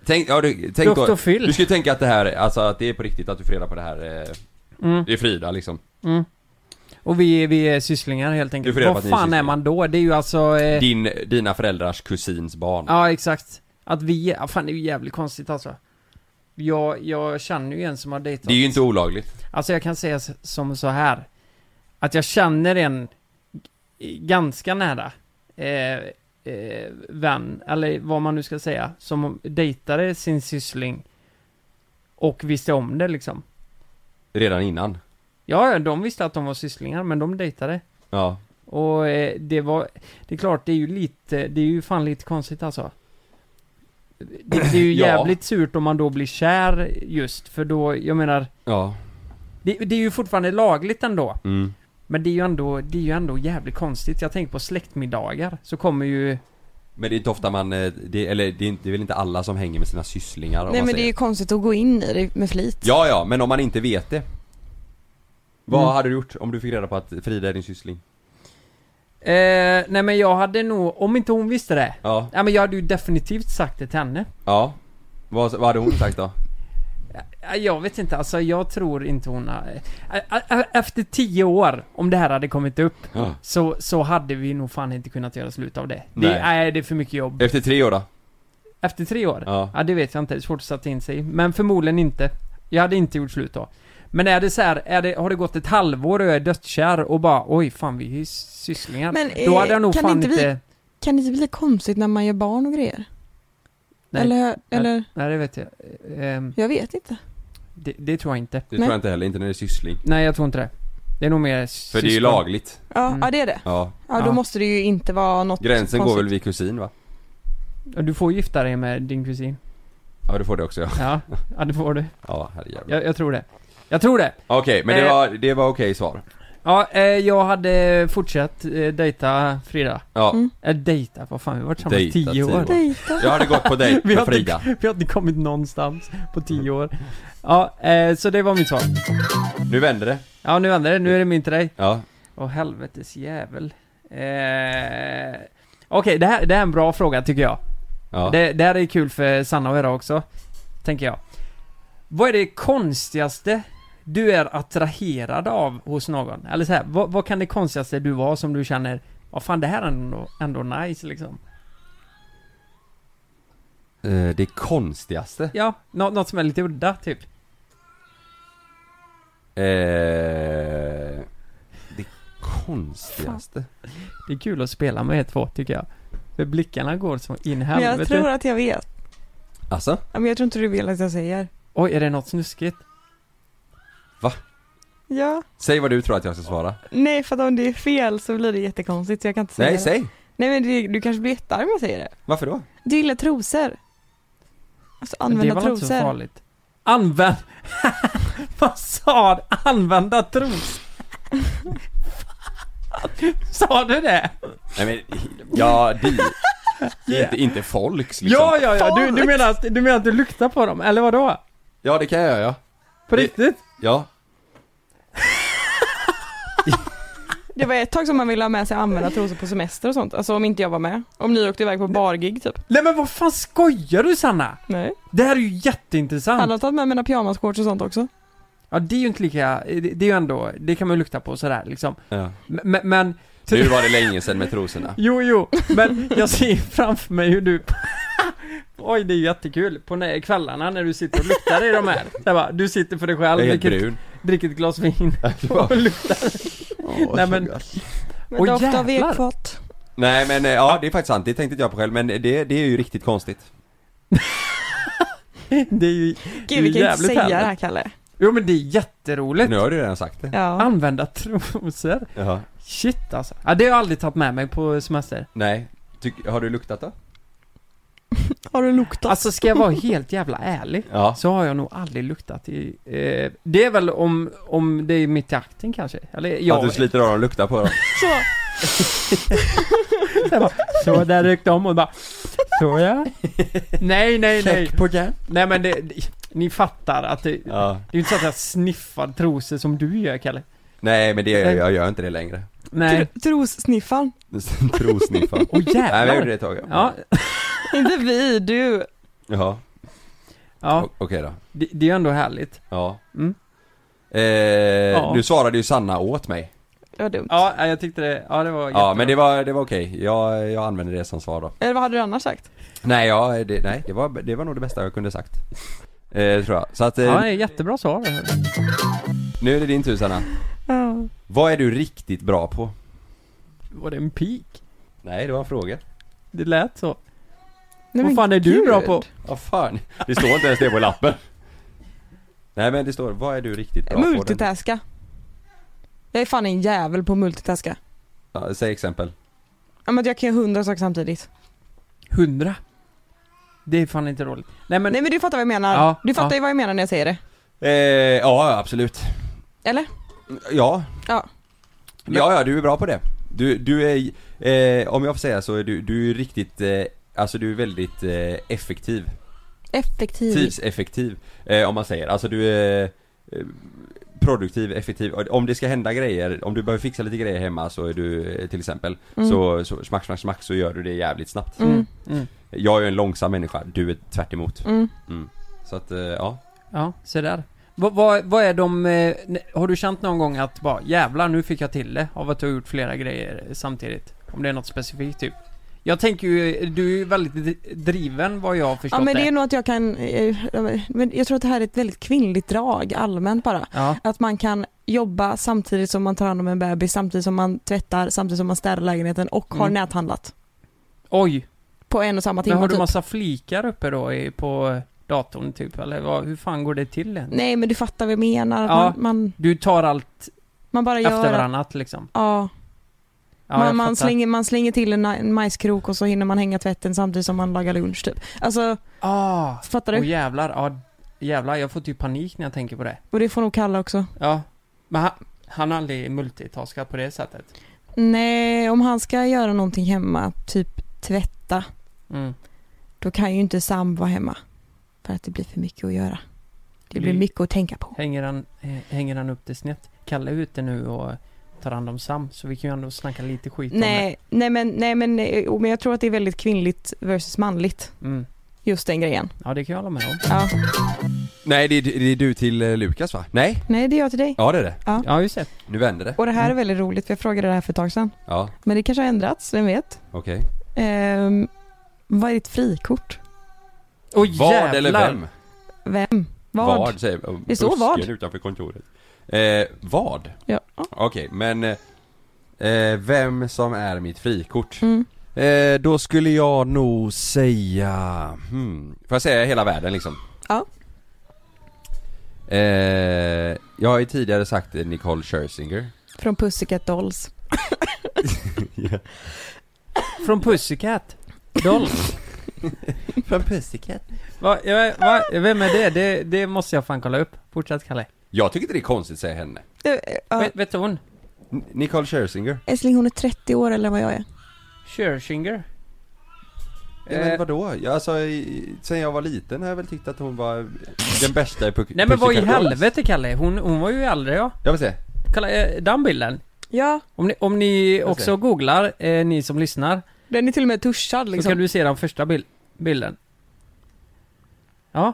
Speaker 6: Tänk, ja, du, tänk
Speaker 8: Dr.
Speaker 6: Då,
Speaker 8: Phil.
Speaker 6: Du skulle tänka att det här, alltså att det är på riktigt att du får reda på det här. Eh,
Speaker 8: Mm.
Speaker 6: Det är Frida liksom.
Speaker 8: Mm. Och vi, vi är sysslingar helt
Speaker 6: Du
Speaker 8: enkelt.
Speaker 6: får reda på
Speaker 8: Vad
Speaker 6: att ni är
Speaker 8: fan är
Speaker 6: sysslingar.
Speaker 8: man då? Det är ju alltså... Eh,
Speaker 6: Din, dina föräldrars kusins barn.
Speaker 8: ja, exakt. Att vi... Ja, fan, det är ju jävligt konstigt alltså. Jag, jag känner ju en som har dejtat.
Speaker 6: Det är ju inte olagligt.
Speaker 8: Alltså jag kan säga s- som så här. Att jag känner en g- ganska nära eh, eh, vän, eller vad man nu ska säga, som dejtade sin syssling och visste om det liksom.
Speaker 6: Redan innan.
Speaker 8: Ja, ja, de visste att de var sysslingar, men de dejtade.
Speaker 6: Ja.
Speaker 8: Och eh, det var, det är klart, det är ju lite, det är ju fan lite konstigt alltså. Det, det är
Speaker 6: <clears throat>
Speaker 8: ju
Speaker 6: Ja.
Speaker 8: jävligt surt om man då blir kär just, för då, jag menar,
Speaker 6: Ja.
Speaker 8: det, det är ju fortfarande lagligt ändå.
Speaker 6: Mm.
Speaker 8: Men det är ju ändå, det är ju ändå jävligt konstigt. Jag tänker på släktmiddagar, så kommer ju...
Speaker 6: Men det är inte ofta man, eh, det, eller det är, inte, det är väl inte alla som hänger med sina sysslingar om
Speaker 3: Nej
Speaker 6: man
Speaker 3: men det
Speaker 6: säger.
Speaker 3: är ju konstigt att gå in i det med flit.
Speaker 6: Ja, ja, men om man inte vet det. Vad
Speaker 8: Mm.
Speaker 6: hade du gjort om du fick reda på att Frida är din syssling?
Speaker 8: Eh, nej men jag hade nog, om inte hon visste det.
Speaker 6: Ja.
Speaker 8: Ja men jag hade ju definitivt sagt det till henne.
Speaker 6: Ja. Vad, vad hade hon sagt då?
Speaker 8: Ja, Jag vet inte, alltså jag tror inte hon har... Ä- ä- Efter tio år, om det här hade kommit upp,
Speaker 6: Ja.
Speaker 8: så, så hade vi nog fan inte kunnat göra slut av det. Det,
Speaker 6: Nej.
Speaker 8: nej, det är för mycket jobb.
Speaker 6: Efter tre år då?
Speaker 8: Efter tre år?
Speaker 6: Ja.
Speaker 8: Ja, det vet jag inte. Det är svårt att sätta in sig i. Men förmodligen inte. Jag hade inte gjort slut då. Men är det så här, är det, har det gått ett halvår och jag är dödskär och bara oj fan vi är ju sysslingar.
Speaker 3: Men eh,
Speaker 8: Då hade jag nog
Speaker 3: kan,
Speaker 8: fan
Speaker 3: det
Speaker 8: inte...
Speaker 3: inte bli, kan det inte bli konstigt när man gör barn och grejer?
Speaker 8: Nej.
Speaker 3: Eller, eller,
Speaker 8: Nej det vet jag. Ehm,
Speaker 3: jag vet inte.
Speaker 8: det, det tror jag inte.
Speaker 6: Det tror jag inte heller, inte när det är syssling.
Speaker 8: Nej jag tror inte det. Det är nog mer
Speaker 6: För det är ju lagligt.
Speaker 3: Ja, ja det är det.
Speaker 6: Mm. Ja.
Speaker 3: Ja, då
Speaker 8: Ja.
Speaker 3: måste det ju inte vara något
Speaker 6: Gränsen går
Speaker 3: konstigt.
Speaker 6: väl vid kusin va?
Speaker 8: Du får gifta dig med din kusin.
Speaker 6: Ja du får det också ja.
Speaker 8: Ja, ja det får du.
Speaker 6: Ja, herrejävlar.
Speaker 8: Jag, jag tror det. Jag tror det.
Speaker 6: Okej, men det
Speaker 8: Eh.
Speaker 6: var, det var okej svar.
Speaker 8: Ja, eh, jag hade fortsatt eh, dejta Frida.
Speaker 6: Ja.
Speaker 3: Mm.
Speaker 8: Eller dejta, vad fan vi har varit tillsammans
Speaker 6: Dejta
Speaker 8: tio år.
Speaker 3: Dejta.
Speaker 6: Jag hade gått på dejt
Speaker 8: <laughs> Vi
Speaker 6: med
Speaker 8: har,
Speaker 6: Frida.
Speaker 8: inte, vi har inte kommit någonstans på tio år. Ja, eh, så det var mitt svar.
Speaker 6: Nu vänder det.
Speaker 8: Ja, nu vänder det. Nu är det min till dig.
Speaker 6: Ja.
Speaker 8: Åh, helvetes jävel. Eh, Okej, det, här, det här är en bra fråga tycker jag.
Speaker 6: Ja.
Speaker 8: Det, det här är kul för Sanna att höra också, tänker jag. Vad är det konstigaste du är attraherad av hos någon? Eller så här, vad, vad kan det konstigaste du vara som du känner, vad fan det här är ändå, ändå nice liksom?
Speaker 6: Eh, Det konstigaste.
Speaker 8: Ja, nå, något som är lite udda typ.
Speaker 6: Eh, det konstigaste.
Speaker 8: Det är kul att spela med er två tycker jag. För blickarna går som in i
Speaker 3: Men jag
Speaker 8: helvete.
Speaker 3: tror att jag vet.
Speaker 6: Alltså?
Speaker 3: Ja, Men jag tror inte du vill att jag säger.
Speaker 8: Oj, är det något snuskigt?
Speaker 3: Ja.
Speaker 6: Säg vad du tror att jag ska svara.
Speaker 3: Nej, för att om det är fel så blir det jättekonstigt så jag kan inte säga
Speaker 6: Nej,
Speaker 3: det.
Speaker 6: säg!
Speaker 3: Nej, men det, du kanske blir jättearg om jag säger det.
Speaker 6: Varför då?
Speaker 3: Du gillar trosor. Alltså använda
Speaker 8: det var inte så
Speaker 3: trosor.
Speaker 8: farligt. Använd... <laughs> Vad sa du? Använda tros... <laughs> Fan. sa du det?
Speaker 6: Nej men, ja, di...
Speaker 8: <laughs>
Speaker 6: inte, inte folks liksom.
Speaker 8: Ja, ja, ja. Du, du, menar att, du menar att du luktar på dem, eller vadå?
Speaker 6: ja det kan jag göra ja.
Speaker 8: På
Speaker 6: Det-
Speaker 8: riktigt?
Speaker 6: Ja.
Speaker 3: Det var ett tag som man ville ha med sig använda trosor på semester och sånt. Alltså om inte jag var med. Om ni åkte iväg på bargig typ.
Speaker 8: Nej men vad fan skojar du Sanna?
Speaker 3: Nej.
Speaker 8: Det här är ju jätteintressant.
Speaker 3: Alla har tagit med mina pyjamasshorts och sånt också.
Speaker 8: Ja det är ju inte lika, det, det är ju ändå, det kan man ju lukta på sådär liksom.
Speaker 6: ja.
Speaker 8: Men- Men, men
Speaker 6: Nu var det länge sedan med trosorna.
Speaker 8: Jo, jo, men jag ser framför mig hur du <laughs> Oj, det är ju jättekul. På nä- kvällarna när du sitter och luktar i de här. Jag bara, du sitter för dig själv,
Speaker 6: Jag är helt
Speaker 8: dricker,
Speaker 6: brun.
Speaker 8: dricker ett
Speaker 6: <laughs>
Speaker 8: glas vin <laughs> och luktar. Nej, men-
Speaker 3: Men
Speaker 8: Åh,
Speaker 3: doft av
Speaker 8: jävlar.
Speaker 3: ekfat.
Speaker 6: Nej men, eh, ja det är faktiskt sant. Det tänkte inte jag på själv, men det, det är ju riktigt konstigt.
Speaker 8: Det är ju
Speaker 3: Gud vi
Speaker 8: Det
Speaker 3: kan
Speaker 8: är
Speaker 3: inte säga
Speaker 8: jävligt
Speaker 3: det här
Speaker 8: härligt.
Speaker 3: Kalle.
Speaker 8: Jo men det är jätteroligt.
Speaker 6: Nu har du redan sagt det.
Speaker 3: Ja.
Speaker 8: Använda trosor.
Speaker 6: Jaha.
Speaker 8: Shit alltså. Ja, det har jag aldrig tagit med mig på semester.
Speaker 6: Nej. Tyck, har du luktat då?
Speaker 3: Har du luktat?
Speaker 8: Alltså ska jag vara helt jävla ärlig.
Speaker 6: Ja.
Speaker 8: Så har jag nog aldrig luktat i... Eh, det är väl om, om det är mitt i akten kanske? Eller
Speaker 6: Att du
Speaker 8: jag...
Speaker 6: sliter av dem och luktar på dem.
Speaker 3: Så.
Speaker 8: Jag bara, så där rök de och bara Så ja Nej nej nej
Speaker 6: på den.
Speaker 8: Nej men det, det- ni fattar att det Det
Speaker 6: Ja.
Speaker 8: är ju inte så att jag sniffar trosor som du gör Kalle
Speaker 6: Nej men det, jag, jag gör inte det längre. <laughs>
Speaker 8: Nej
Speaker 3: Tr- Trossniffaren.
Speaker 6: Trosniffar.
Speaker 8: Åh
Speaker 6: Nej men jag gjorde det
Speaker 8: jävlar
Speaker 6: ett tag.
Speaker 8: Ja,
Speaker 3: Inte vi, du.
Speaker 6: Jaha. O-
Speaker 8: ja
Speaker 6: Okej då.
Speaker 8: det, det är ju ändå härligt
Speaker 6: Ja.
Speaker 8: Mm.
Speaker 6: Eh,
Speaker 8: Ja.
Speaker 6: Nu svarade ju Sanna åt mig.
Speaker 3: Det var dumt.
Speaker 8: Ja, jag tyckte det, ja det var
Speaker 6: Ja
Speaker 8: jättebra.
Speaker 6: men det var, det var okej. Jag, jag använde det som svar då.
Speaker 3: Eller vad hade du annars sagt?
Speaker 6: Nej, ja, det, nej det, var, det var nog det bästa jag kunde sagt. Eh, tror jag. Så att, eh,
Speaker 8: Ja, det är jättebra svar det här.
Speaker 6: nu är det din tur Sanna.
Speaker 3: Ja.
Speaker 6: Vad är du riktigt bra på?
Speaker 8: Var det en pik?
Speaker 6: Nej, det var en fråga.
Speaker 8: Det lät så
Speaker 3: Nej,
Speaker 8: Vad
Speaker 3: men
Speaker 8: fan är du
Speaker 3: gud.
Speaker 8: bra på?
Speaker 6: Vad fan. Det står inte ens det på lappen. Nej men det står, vad är du riktigt bra på? Den-
Speaker 3: Multitaska. Jag är fan en jävel på att multitaska.
Speaker 6: Ja, säg exempel.
Speaker 3: Ja, men jag kan göra hundra saker samtidigt.
Speaker 8: Hundra Det är fan inte roligt Nej men,
Speaker 3: Nej men du fattar vad jag menar.
Speaker 8: Ja,
Speaker 3: du fattar
Speaker 8: ja.
Speaker 3: ju vad jag menar när jag säger det.
Speaker 6: Eh, ja, absolut.
Speaker 3: Eller?
Speaker 6: Ja.
Speaker 3: Ja.
Speaker 6: Ja, ja, du är bra på det. Du, du är, eh, om jag får säga så är du, du är riktigt, eh, alltså du är väldigt eh, effektiv.
Speaker 3: Effektiv.
Speaker 6: Typ. tidseffektiv eh, om man säger. Alltså du är eh, produktiv, effektiv. Om det ska hända grejer, om du behöver fixa lite grejer hemma så är du eh, till exempel
Speaker 3: Mm.
Speaker 6: så, så smack, smack, smack så gör du det jävligt snabbt.
Speaker 3: Mm.
Speaker 8: mm.
Speaker 6: Jag är ju en långsam människa, du är tvärt emot.
Speaker 3: Mm.
Speaker 6: Så att eh, ja.
Speaker 8: Ja, se där. Vad, vad, vad är de, eh, ne- har du känt någon gång att bara jävlar nu fick jag till det av att du har gjort flera grejer samtidigt? Om det är något specifikt typ? Jag tänker ju, du är ju väldigt dri- driven vad jag har förstått
Speaker 3: Ja men det är
Speaker 8: det.
Speaker 3: nog att jag kan, eh, men jag tror att det här är ett väldigt kvinnligt drag allmänt bara.
Speaker 8: Ja.
Speaker 3: Att man kan jobba samtidigt som man tar hand om en bebis, samtidigt som man tvättar, samtidigt som man städar lägenheten och har
Speaker 8: Mm.
Speaker 3: näthandlat.
Speaker 8: Oj!
Speaker 3: På en och samma timme
Speaker 8: Men har du
Speaker 3: typ.
Speaker 8: massa flikar uppe då i, på datorn typ, eller vad, hur fan går det till ens?
Speaker 3: Nej men du fattar vad jag menar, att
Speaker 8: Ja.
Speaker 3: man, man,
Speaker 8: Du tar allt
Speaker 3: man bara gör
Speaker 8: efter
Speaker 3: att-
Speaker 8: varannat liksom?
Speaker 3: Ja.
Speaker 8: Ja, jag
Speaker 3: man, man,
Speaker 8: fattar.
Speaker 3: slänger, man slänger till en, en majskrok och så hinner man hänga tvätten samtidigt som man lagar lunch typ. Alltså,
Speaker 8: ah,
Speaker 3: fattar
Speaker 8: Åh
Speaker 3: du?
Speaker 8: jävlar, ja jävlar, jag får typ panik när jag tänker på det.
Speaker 3: Och det får nog Kalle också.
Speaker 8: Ja. Men han, han har aldrig multitaskat på det sättet.
Speaker 3: Nej, om han ska göra någonting hemma, typ tvätta,
Speaker 8: Mm.
Speaker 3: då kan ju inte Sam vara hemma. För att det blir för mycket att göra. Det blir
Speaker 6: Mm.
Speaker 8: Blir-
Speaker 3: mycket att tänka på.
Speaker 8: Hänger han, eh, hänger han upp det snett? Kalle är ute nu och tar hand om Sam, så vi kan ju ändå snacka lite skit
Speaker 3: Nej, nej, men, nej men, eh, men jag tror att det är väldigt kvinnligt versus manligt.
Speaker 8: om det. Mm.
Speaker 3: Just den grejen.
Speaker 8: Ja, det kan jag hålla med om.
Speaker 6: Mm.
Speaker 3: Ja.
Speaker 6: Nej det är, det är du till eh, Lukas va? Nej?
Speaker 3: Nej, det är jag till dig.
Speaker 6: Ja det är det.
Speaker 3: Ja.
Speaker 8: Ja, just det.
Speaker 6: Nu vänder det.
Speaker 3: Och det här är väldigt roligt för jag frågade det här för ett tag sedan.
Speaker 6: Mm. Ja,
Speaker 3: Men det kanske har ändrats, vem vet?
Speaker 6: okej.
Speaker 3: Ehm, vad är ditt frikort?
Speaker 8: Oj,
Speaker 6: Vad eller
Speaker 8: jävlar.
Speaker 6: vem?
Speaker 3: Vem? Vad?
Speaker 6: Vad säger jag.
Speaker 3: Det står vad.
Speaker 6: Busken utanför kontoret. Eh, vad?
Speaker 3: Ja.
Speaker 6: Okej, men eh, eh, vem som är mitt frikort?
Speaker 3: Mm.
Speaker 6: Eh, då skulle jag nog säga, hmm, får jag säga hela världen liksom?
Speaker 3: Ja.
Speaker 6: Eh, jag har ju tidigare sagt eh, Nicole Scherzinger.
Speaker 3: Från Pussycat Dolls.
Speaker 8: Från Pussycat? Dolls?
Speaker 6: <laughs> Från Pussycat?
Speaker 8: Va, ja, va, vem är det? det? Det måste jag fan kolla upp. Fortsätt Kalle.
Speaker 6: Jag tycker inte det är konstigt att säga henne.
Speaker 3: Eh, eh, Ja.
Speaker 8: Vet, vet du hon?
Speaker 6: N- Nicole Scherzinger.
Speaker 3: Älskling hon är 30 år eller vad jag är.
Speaker 8: Scherzinger?
Speaker 6: Ja,
Speaker 8: Eh.
Speaker 6: men vadå? Jag, alltså, i- sen jag var liten har jag väl tyckt att hon var den bästa i Puck-
Speaker 8: Nej men vad i
Speaker 6: Pussycat Dolls.
Speaker 8: helvete Kalle? Hon, hon var ju äldre ja.
Speaker 6: Jag vill se.
Speaker 8: Kalle, eh, den bilden.
Speaker 3: Ja,
Speaker 8: Om ni, om ni
Speaker 6: ser.
Speaker 8: också googlar, eh, ni som lyssnar,
Speaker 3: den är till och med tuschad
Speaker 8: så kan
Speaker 3: liksom.
Speaker 8: du se den första bil, bilden. Ja,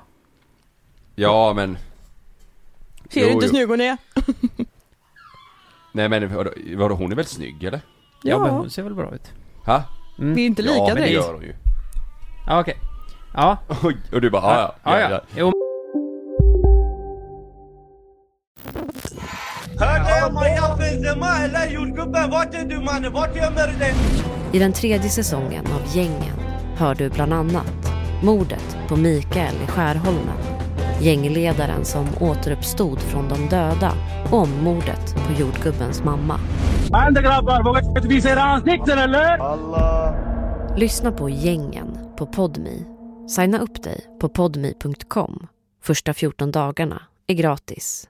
Speaker 6: Ja men,
Speaker 3: Ser du
Speaker 6: Jo,
Speaker 3: inte hur
Speaker 6: jo.
Speaker 3: snygg hon är?
Speaker 6: nej men vadå, vadå hon är väl snygg eller?
Speaker 8: ja. men
Speaker 3: Ja,
Speaker 8: hon ser väl bra ut.
Speaker 6: Ha?
Speaker 8: Mm.
Speaker 3: vi är inte lika
Speaker 6: ja men det
Speaker 3: direkt.
Speaker 6: gör hon ju.
Speaker 8: Ja okej. Ja.
Speaker 6: Oj, och du bara ja ja. ja, ja.
Speaker 8: Jo.
Speaker 1: I den tredje säsongen av Gängen hör du bland annat mordet på Mikael i Skärholmen, gängledaren som återuppstod från de döda och om mordet på jordgubbens mamma.
Speaker 9: عندك غبار بغيت تبيسي راسك نكتر ولا
Speaker 1: Lyssna på Gängen på Podmi. Signa upp dig på podmi.com. Första 14 dagarna är gratis.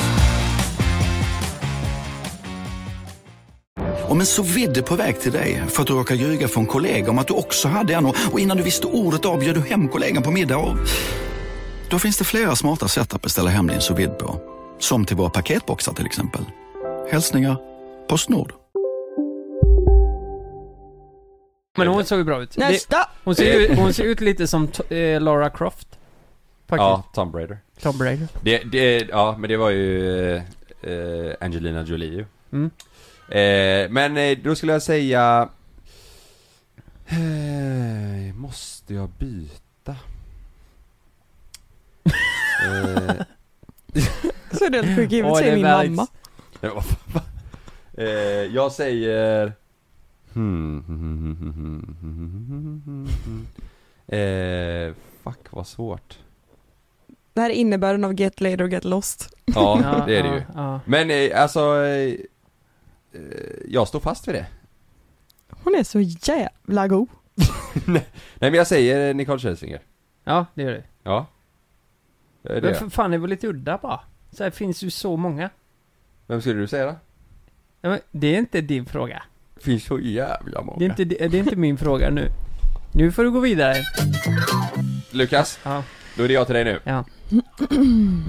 Speaker 4: Om en så vidd är på väg till dig för att du råkar ljuga från kollega om att du också hade en och och innan du visste ordet av bjöd du hem kollegan på middag och... Då finns det flera smarta sätt att beställa hem din sous vide på. Som till våra paketboxar till exempel. Hälsningar Postnord.
Speaker 8: Men hon såg ju bra ut.
Speaker 3: Nästa!
Speaker 8: hon, ser ju, hon ser ut lite som t- eh, Laura Croft. Faktiskt.
Speaker 6: ja Tom Brady.
Speaker 8: Tom Brady.
Speaker 6: Det, det, ja men det var ju eh, Angelina Jolie ju.
Speaker 8: Mm.
Speaker 6: Eh, men eh, då skulle jag säga... Eh, måste jag byta? eh,
Speaker 3: Så är det helt <laughs> sjukt, givet
Speaker 6: Oj,
Speaker 3: säger
Speaker 6: det
Speaker 3: min
Speaker 6: är väldigt-
Speaker 3: mamma.
Speaker 6: Nej, vad fan, va? eh, jag säger... Hmm. eh, fuck vad svårt.
Speaker 3: Det här är innebörden av Get Laid och Get Lost.
Speaker 6: Ja, det är det ju.
Speaker 8: <laughs> Ja,
Speaker 6: Men eh, alltså, eh, eh, jag står fast vid det.
Speaker 3: Hon är så jävla god.
Speaker 6: Nej men jag säger eh, Nicole Scherzinger.
Speaker 8: ja det gör det.
Speaker 6: Ja. Det är
Speaker 8: Men
Speaker 6: det.
Speaker 8: för fan, det var lite udda bara. Så här finns ju så många.
Speaker 6: Vem skulle du säga då?
Speaker 8: Ja, men det är inte din fråga.
Speaker 6: Finns så jävla många.
Speaker 8: Det är inte, det är inte min fråga nu. Nu får du gå vidare.
Speaker 6: Lukas, då är det jag till dig nu.
Speaker 8: Ja.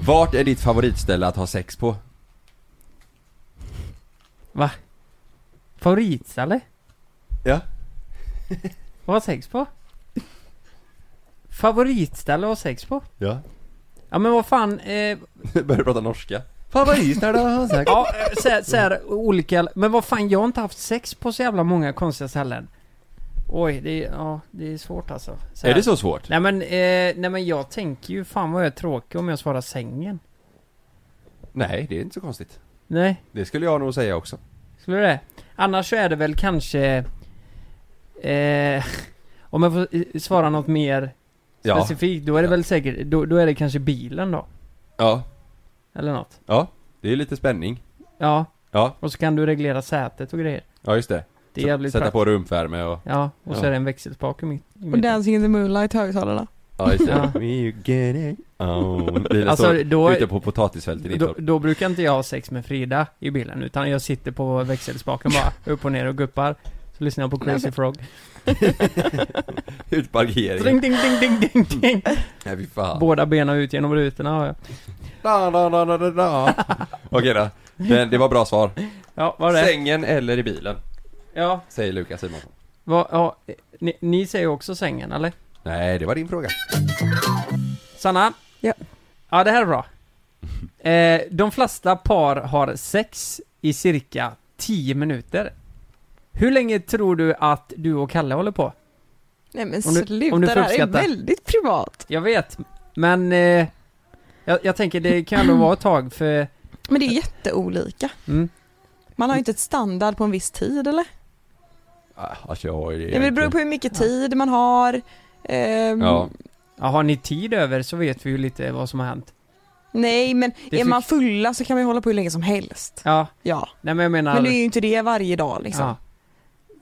Speaker 6: Vart är ditt favoritställe att ha sex på?
Speaker 8: Va? Favoritställe?
Speaker 6: Ja.
Speaker 8: <laughs> Vad har sex på? Favoritställe att ha sex på?
Speaker 6: Ja.
Speaker 8: Ja men vad fan, eh,
Speaker 6: Börjar du prata norska?
Speaker 8: Favoritställe att ha sex Ja, eh, så här, så här, olika, men vad fan jag har inte haft sex på så jävla många konstiga ställen. Oj, det är, ja, det är svårt alltså. här.
Speaker 6: Är det så svårt?
Speaker 8: Nej men, eh, nej men jag tänker ju fan vad jag är tråkig om jag svarar sängen.
Speaker 6: <laughs> Nej, det är inte så konstigt.
Speaker 8: Nej.
Speaker 6: Det skulle jag nog säga också. <laughs>
Speaker 8: Skulle det? Annars så är det väl kanske... Eh, <laughs> om jag får eh, svara något mer
Speaker 6: Ja.
Speaker 8: specifikt, då är det väl säkert, då, då är det kanske bilen då?
Speaker 6: Ja.
Speaker 8: Eller något.
Speaker 6: Ja, det är lite spänning.
Speaker 8: Ja.
Speaker 6: Ja.
Speaker 8: Och så kan du reglera sätet och grejer.
Speaker 6: Ja, just det.
Speaker 8: Det är jävligt
Speaker 6: Sätta på
Speaker 8: praktiskt.
Speaker 6: rumvärme och...
Speaker 8: Ja, och så är det en växelspak i mitt...
Speaker 3: Och
Speaker 8: I mitt.
Speaker 3: Dancing in the moonlight högtalarna.
Speaker 6: Ja, just <laughs> det.
Speaker 8: Ja.
Speaker 6: We get it on. Bilen
Speaker 8: Alltså,
Speaker 6: står
Speaker 8: då-
Speaker 6: ute på potatisfältet i
Speaker 8: Då,
Speaker 6: Nittorp.
Speaker 8: då brukar inte jag ha sex med Frida i bilen, utan jag sitter på växelspaken bara, upp och ner och guppar. Så lyssnar jag på Crazy Frog.
Speaker 6: Utparkering.
Speaker 8: Ding, ding, ding, ding, ding, ding.
Speaker 6: Nej, fy fan.
Speaker 8: Båda benen ut genom rutorna har jag.
Speaker 6: Da, da, da, da, da, da.
Speaker 8: <laughs>
Speaker 6: Okej då. Det, det var bra svar.
Speaker 8: Ja, var det?
Speaker 6: Sängen eller i bilen?
Speaker 8: Ja.
Speaker 6: Säger Lukas Simonsson.
Speaker 8: Va, ja, eh, ni, ni säger också sängen, eller?
Speaker 6: Nej, det var din fråga.
Speaker 8: Sanna?
Speaker 3: Ja.
Speaker 8: Ja, det här är bra. Eh, de flesta par har sex i cirka 10 minuter. Hur länge tror du att du och Kalle håller på?
Speaker 3: Nej men
Speaker 8: Om du- om
Speaker 3: sluta, det
Speaker 8: du får
Speaker 3: här är
Speaker 8: uppskatta.
Speaker 3: väldigt privat.
Speaker 8: Jag vet, men eh, jag, jag tänker det kan ändå vara ett tag för...
Speaker 3: Men det är jätteolika.
Speaker 8: Mm.
Speaker 3: Man har ju inte ett standard på en viss tid eller?
Speaker 6: Alltså, jag har ju
Speaker 3: Det beror på hur mycket tid man har. Ehm,
Speaker 8: Ja. Har ni tid över så vet vi ju lite vad som har hänt.
Speaker 3: Nej men
Speaker 8: Det
Speaker 3: är
Speaker 8: fick-
Speaker 3: man fulla så kan man ju hålla på hur länge som helst.
Speaker 8: Ja.
Speaker 3: Ja.
Speaker 8: Nej men jag menar...
Speaker 3: Men det är ju inte det varje dag liksom.
Speaker 8: ja.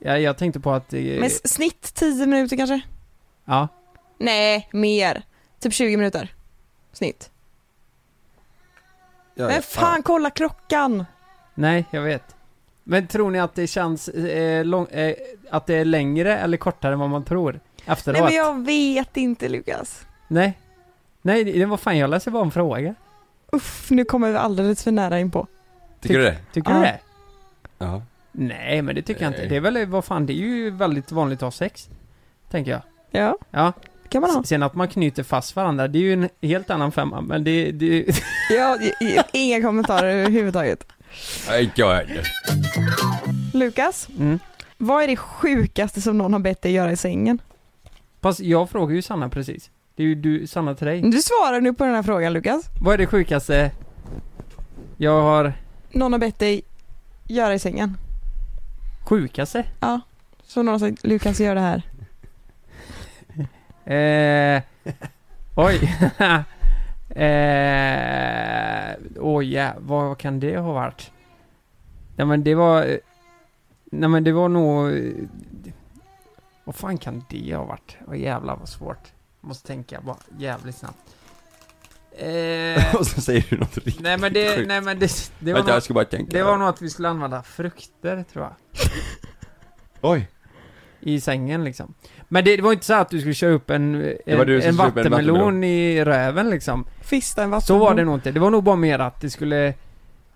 Speaker 8: ja, jag tänkte på att... Eh,
Speaker 3: Men s- snitt 10 minuter kanske?
Speaker 8: ja.
Speaker 3: Nej, mer. Typ 20 minuter. Snitt. Men fan, kolla klockan!
Speaker 8: Nej, jag vet. Men tror ni att det känns eh, lång, eh, att det är längre eller kortare än vad man tror? Efteråt?
Speaker 3: Nej men jag vet inte Lukas.
Speaker 8: Nej. Nej, det det var fan jag läser bara en fråga.
Speaker 3: Uff, nu kommer vi alldeles för nära in på.
Speaker 6: Tycker du det?
Speaker 8: Tycker du
Speaker 3: Ja.
Speaker 8: det?
Speaker 6: Ja.
Speaker 8: Nej, men det tycker jag
Speaker 6: Nej.
Speaker 8: inte. Det är väl, vad fan, det är ju väldigt vanligt att ha sex. Tänker jag.
Speaker 3: Ja,
Speaker 8: Ja.
Speaker 3: kan man ha.
Speaker 8: S- Sen att man knyter fast varandra, det är ju en helt annan femma, men det... det... <laughs>
Speaker 3: Ja, i- i- inga kommentarer överhuvudtaget.
Speaker 6: Nej, inte jag heller. <laughs>
Speaker 3: Lukas,
Speaker 8: Mm.
Speaker 3: vad är det sjukaste som någon har bett dig göra i sängen?
Speaker 8: Fast jag frågar ju Sanna precis. Det är ju du, Sanna till dig.
Speaker 3: Du svarar nu på den här frågan Lukas.
Speaker 8: Vad är det sjukaste jag har...
Speaker 3: Någon har bett dig göra i sängen.
Speaker 8: Sjukaste?
Speaker 3: Ja. Så någon har sagt Lukas gör det här.
Speaker 8: Eh, oj. <laughs> eh, oh ja, vad kan det ha varit? Nej men det var... eh, Nej men det var nog... eh, Vad fan kan det ha varit? Åh jävlar vad svårt. Måste tänka bara jävligt snabbt.
Speaker 6: <laughs>
Speaker 8: Eh,
Speaker 6: Och så säger du något riktigt
Speaker 8: nej men det,
Speaker 6: sjukt.
Speaker 8: nej men det, det var
Speaker 6: Vänta,
Speaker 8: nog-
Speaker 6: jag ska bara tänka.
Speaker 8: Det var nog att vi skulle använda frukter tror jag.
Speaker 6: Oj.
Speaker 8: I sängen liksom. Men det, det var inte så att du skulle köra upp en,
Speaker 6: var
Speaker 8: en,
Speaker 6: du som
Speaker 8: en
Speaker 6: skulle upp en
Speaker 8: vattenmelon
Speaker 6: vattenmelon.
Speaker 8: i röven liksom.
Speaker 3: Fista en vatten.
Speaker 8: Så var det nog inte. Det var nog bara mer att det skulle,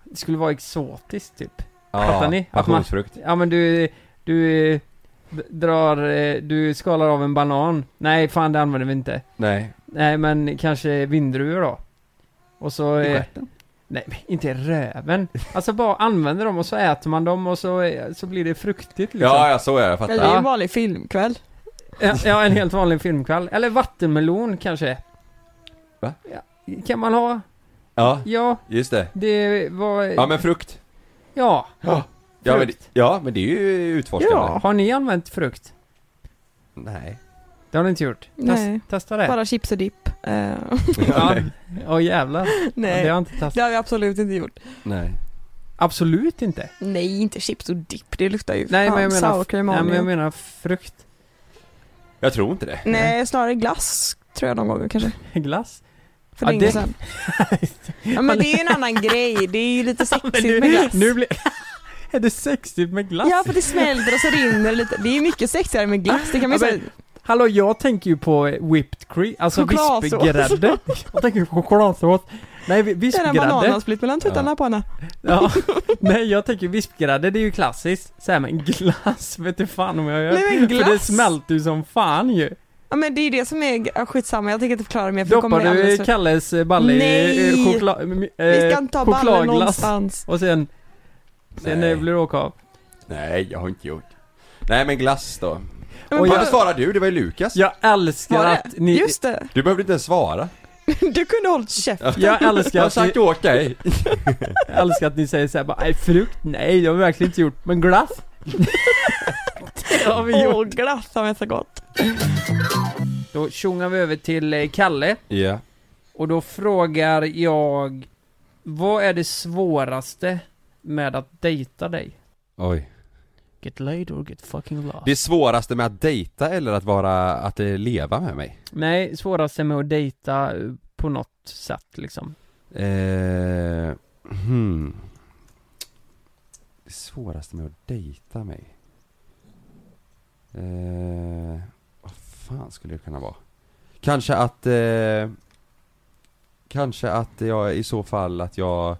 Speaker 8: det skulle vara exotiskt typ.
Speaker 6: Ja,
Speaker 8: Fattar ni? Att man,
Speaker 6: passionsfrukt.
Speaker 8: ja men du, du eh, d- drar, eh, du skalar av en banan. Nej fan det använder vi inte.
Speaker 6: Nej.
Speaker 8: Nej men kanske vindruvor då. Och så...
Speaker 6: I
Speaker 8: eh,
Speaker 6: stjärten?
Speaker 8: Nej, men inte i röven. Alltså bara använder dem och så äter man dem och så, eh, så blir det fruktigt liksom.
Speaker 6: Ja, ja, så är det. Jag
Speaker 3: Men det är ju en
Speaker 6: fattar.
Speaker 3: vanlig filmkväll.
Speaker 8: Ja, ja, en helt vanlig filmkväll. Eller vattenmelon kanske.
Speaker 6: Va?
Speaker 8: Ja, kan man ha?
Speaker 6: Ja,
Speaker 8: Ja,
Speaker 6: just det.
Speaker 8: det var...
Speaker 6: Ja, men frukt.
Speaker 8: Ja.
Speaker 6: Ja, men, ja, men det är ju utforskande.
Speaker 8: Ja, har ni använt frukt?
Speaker 6: Nej.
Speaker 8: Det har ni inte gjort?
Speaker 3: Nej.
Speaker 8: Test, testa det.
Speaker 3: Bara chips och dipp. Eh, <laughs>
Speaker 8: Ja. Åh jävlar.
Speaker 3: Nej.
Speaker 8: Ja, det har jag inte testat.
Speaker 3: det har vi absolut inte gjort.
Speaker 6: Nej.
Speaker 8: Absolut inte.
Speaker 3: Nej, inte chips och dipp. Det luktar ju
Speaker 8: Nej,
Speaker 3: fan
Speaker 8: men jag menar...
Speaker 3: sour cream
Speaker 8: nej, men jag
Speaker 3: onion.
Speaker 8: menar frukt.
Speaker 6: Jag tror inte det.
Speaker 3: Nej, snarare glass tror jag någon gång kanske.
Speaker 6: <laughs>
Speaker 8: Glass.
Speaker 3: För
Speaker 8: Ja,
Speaker 3: länge
Speaker 8: det-
Speaker 3: sedan. Ja men det är ju
Speaker 8: <laughs>
Speaker 3: en annan grej, det är ju lite
Speaker 8: Men
Speaker 3: sexigt
Speaker 8: nu,
Speaker 3: med glass.
Speaker 8: nu blir... <laughs> är det sexigt med glass?
Speaker 3: Ja för det smälter och så rinner det lite, det är ju mycket sexigare med glass, det kan man ju
Speaker 8: Ja,
Speaker 3: säga.
Speaker 8: Hallå, jag tänker ju på whipped cream, alltså
Speaker 3: Chokladsås.
Speaker 8: vispgrädde. <laughs> Jag tänker på chokladsås. Nej, vi-
Speaker 3: Det är den
Speaker 8: vispgrädde.
Speaker 3: bananen split mellan tuttarna på henne.
Speaker 8: <laughs> Ja. Nej, jag tänker vispgrädde, det är ju klassiskt. Så här, men glass <laughs> vet du fan om jag gör.
Speaker 3: Nej, men
Speaker 8: För det
Speaker 3: glass.
Speaker 8: smälter ju som fan ju.
Speaker 3: Ja men det är ju det som är, ja, skitsamma jag tänker inte förklara mer för då kommer
Speaker 8: Doppar
Speaker 3: det
Speaker 8: du
Speaker 3: alldeles för...
Speaker 8: Kalles eh, balle i
Speaker 3: Nej!
Speaker 8: eh, choklad... m- eh,
Speaker 3: Vi ska inte ha balle
Speaker 8: chokladglass.
Speaker 3: någonstans.
Speaker 8: Och sen... Sen
Speaker 6: Nej.
Speaker 8: eh, blir du åka av.
Speaker 6: Nej, jag har inte gjort. Nej men glass då.
Speaker 3: Men
Speaker 6: Varför
Speaker 3: bara-
Speaker 6: svarade du? Det var ju Lukas.
Speaker 8: Jag älskar
Speaker 3: Var det?
Speaker 8: att ni...
Speaker 3: Just det,
Speaker 6: Du behövde inte ens svara.
Speaker 3: du kunde hållit käften.
Speaker 8: Jag
Speaker 3: <laughs>
Speaker 8: älskar
Speaker 6: Jag har
Speaker 8: att ni,
Speaker 6: sagt åt <laughs> dig.
Speaker 8: jag älskar att ni säger såhär bara, nej frukt, nej det har vi verkligen inte gjort, men glass? <laughs> det har vi gjort.
Speaker 3: Åh, glass har vi så gott.
Speaker 8: Då tjongar vi över till eh, Kalle.
Speaker 6: Ja.
Speaker 8: Och då frågar jag, vad är det svåraste med att dejta dig?
Speaker 6: Oj.
Speaker 8: Get laid or get fucking lost.
Speaker 6: Det svåraste med att dejta eller att vara, att eh, leva med mig?
Speaker 8: Nej, svåraste med att dejta eh, på något sätt liksom.
Speaker 6: Eh, hmm. Det svåraste med att dejta mig? Eh, vad fan skulle det kunna vara? Kanske att, eh, kanske att jag i så fall att jag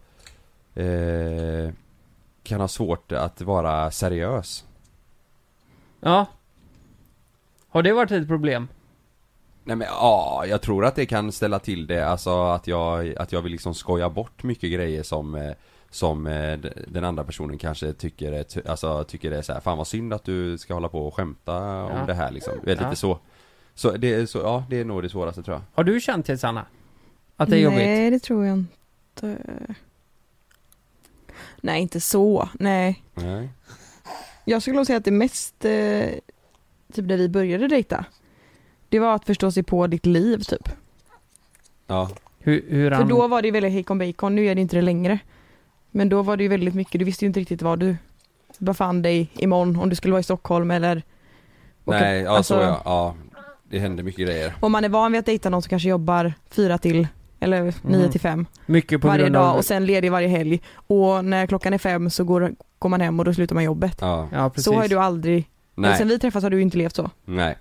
Speaker 6: eh, kan ha svårt att vara seriös.
Speaker 8: Ja. Har det varit ett problem?
Speaker 6: Nej men ja, jag tror att det kan ställa till det, alltså att jag, att jag vill liksom skoja bort mycket grejer som eh, Som eh, d- den andra personen kanske tycker, är ty- alltså tycker det är så här, fan vad synd att du ska hålla på och skämta
Speaker 8: Ja.
Speaker 6: om det här liksom, det är lite
Speaker 8: Ja.
Speaker 6: så Så det är så, ja det är nog det svåraste tror jag
Speaker 8: Har du känt till Sanna? Att det är jobbigt?
Speaker 3: Nej det tror jag inte. Nej inte så, nej.
Speaker 6: Nej
Speaker 3: Jag skulle nog säga att det mest, eh, typ där vi började dejta, det var att förstå sig på ditt liv typ.
Speaker 6: Ja
Speaker 8: Hur, hur
Speaker 3: För
Speaker 8: han...
Speaker 3: då var det ju väldigt hejkon bacon, nu är det inte det längre. Men då var det ju väldigt mycket, du visste ju inte riktigt var du befann dig imorgon, om du skulle vara i Stockholm eller åka-
Speaker 6: Nej, ja
Speaker 3: alltså,
Speaker 6: så ja, ja Det händer mycket grejer
Speaker 3: Om man är van vid att dejta någon som kanske jobbar fyra till eller
Speaker 8: Mhm.
Speaker 3: nio till fem
Speaker 8: Mycket på
Speaker 3: varje
Speaker 8: grund
Speaker 3: dag
Speaker 8: av...
Speaker 3: och sen ledig varje helg och när klockan är fem så går, går man hem och då slutar man jobbet.
Speaker 6: Ja,
Speaker 8: Ja, precis.
Speaker 3: Så har ju du aldrig,
Speaker 6: Nej.
Speaker 3: eller sen vi träffas har du ju inte levt så.
Speaker 6: Nej Nej,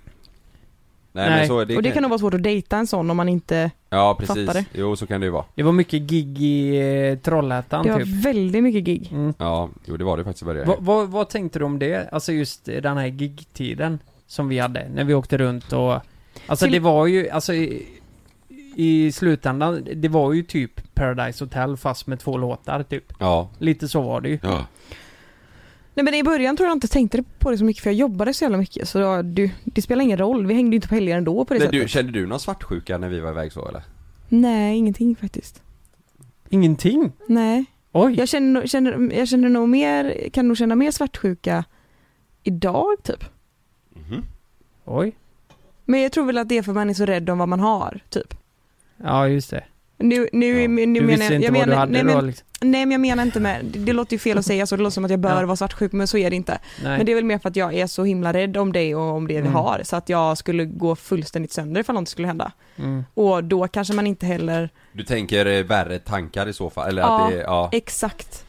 Speaker 8: Nej.
Speaker 6: men så är det,
Speaker 3: och det kan nog vara svårt att dejta en sån om man inte,
Speaker 6: Ja precis,
Speaker 3: Fattar det.
Speaker 6: jo så kan det ju vara
Speaker 8: Det var mycket gig i eh, Trollhättan
Speaker 3: det var
Speaker 8: typ.
Speaker 3: väldigt mycket gig.
Speaker 8: Mm.
Speaker 6: Ja, jo det var det faktiskt i början
Speaker 8: Vad- vad- vad tänkte du om det? Alltså just eh, den här gigtiden som vi hade, när vi åkte runt och... Alltså
Speaker 3: Till-
Speaker 8: det var ju, alltså i, i slutändan, det var ju typ Paradise Hotel fast med två låtar typ.
Speaker 6: Ja,
Speaker 8: Lite så var det ju.
Speaker 6: ja,
Speaker 3: Nej men i början tror jag inte tänkte på det så mycket för jag jobbade så jävla mycket så då, du, det spelar ingen roll, vi hängde ju inte på helger ändå på det
Speaker 6: Men
Speaker 3: sättet.
Speaker 6: du, kände du någon svartsjuka när vi var iväg så eller?
Speaker 3: Nej, ingenting faktiskt.
Speaker 8: Ingenting?
Speaker 3: Nej.
Speaker 8: Oj!
Speaker 3: Jag känner, nog- känner, jag känner nog mer, kan nog känna mer svartsjuka idag typ.
Speaker 8: Oj.
Speaker 3: Men jag tror väl att det är för man är så rädd om vad man har typ.
Speaker 8: Ja, just det.
Speaker 3: Nu, nu, nu
Speaker 8: Du
Speaker 3: menar
Speaker 8: visste
Speaker 3: jag,
Speaker 8: inte
Speaker 3: jag
Speaker 8: vad du
Speaker 3: menar,
Speaker 8: hade
Speaker 3: nej,
Speaker 8: då
Speaker 3: men,
Speaker 8: liksom.
Speaker 3: nej men jag menar inte med, det, det låter ju fel att säga så, det låter som att jag bör
Speaker 8: Ja.
Speaker 3: vara svartsjuk men så är det inte.
Speaker 8: Nej.
Speaker 3: Men det är väl mer för att jag är så himla rädd om dig och om det vi
Speaker 8: Mm.
Speaker 3: har så att jag skulle gå fullständigt sönder ifall något skulle hända.
Speaker 8: Mm.
Speaker 3: Och då kanske man inte heller,
Speaker 6: Du tänker eh, värre tankar i så fall, eller
Speaker 3: ja,
Speaker 6: att det, ja
Speaker 3: exakt.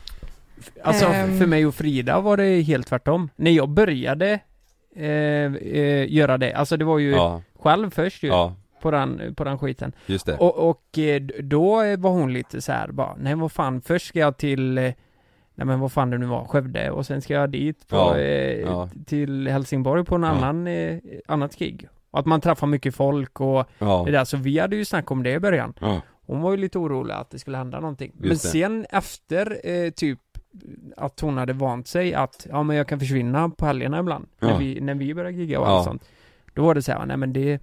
Speaker 8: Alltså
Speaker 3: Ehm.
Speaker 8: för mig och Frida var det helt tvärtom. När jag började eh, eh, göra det, alltså det var ju
Speaker 6: Ja,
Speaker 8: själv först ju.
Speaker 6: ja,
Speaker 8: På den, på den skiten.
Speaker 6: just det
Speaker 8: Och, och eh, d- då var hon lite så här bara, nej vad fan, först ska jag till, eh, nej men vad fan det nu var, Skövde och sen ska jag dit på,
Speaker 6: Ja,
Speaker 8: eh,
Speaker 6: ja.
Speaker 8: t- till Helsingborg på en
Speaker 6: Ja.
Speaker 8: annan, eh, annat gig. Och att man träffar mycket folk och
Speaker 6: Ja,
Speaker 8: det där, så alltså, vi hade ju snackat om det i början.
Speaker 6: ja,
Speaker 8: Hon var ju lite orolig att det skulle hända någonting. men
Speaker 6: det.
Speaker 8: sen efter eh, typ att hon hade vant sig att, ja men jag kan försvinna på helgerna ibland. När,
Speaker 6: Ja.
Speaker 8: vi, när vi började gigga och
Speaker 6: Ja.
Speaker 8: allt sånt. Då var det så här, nej men det,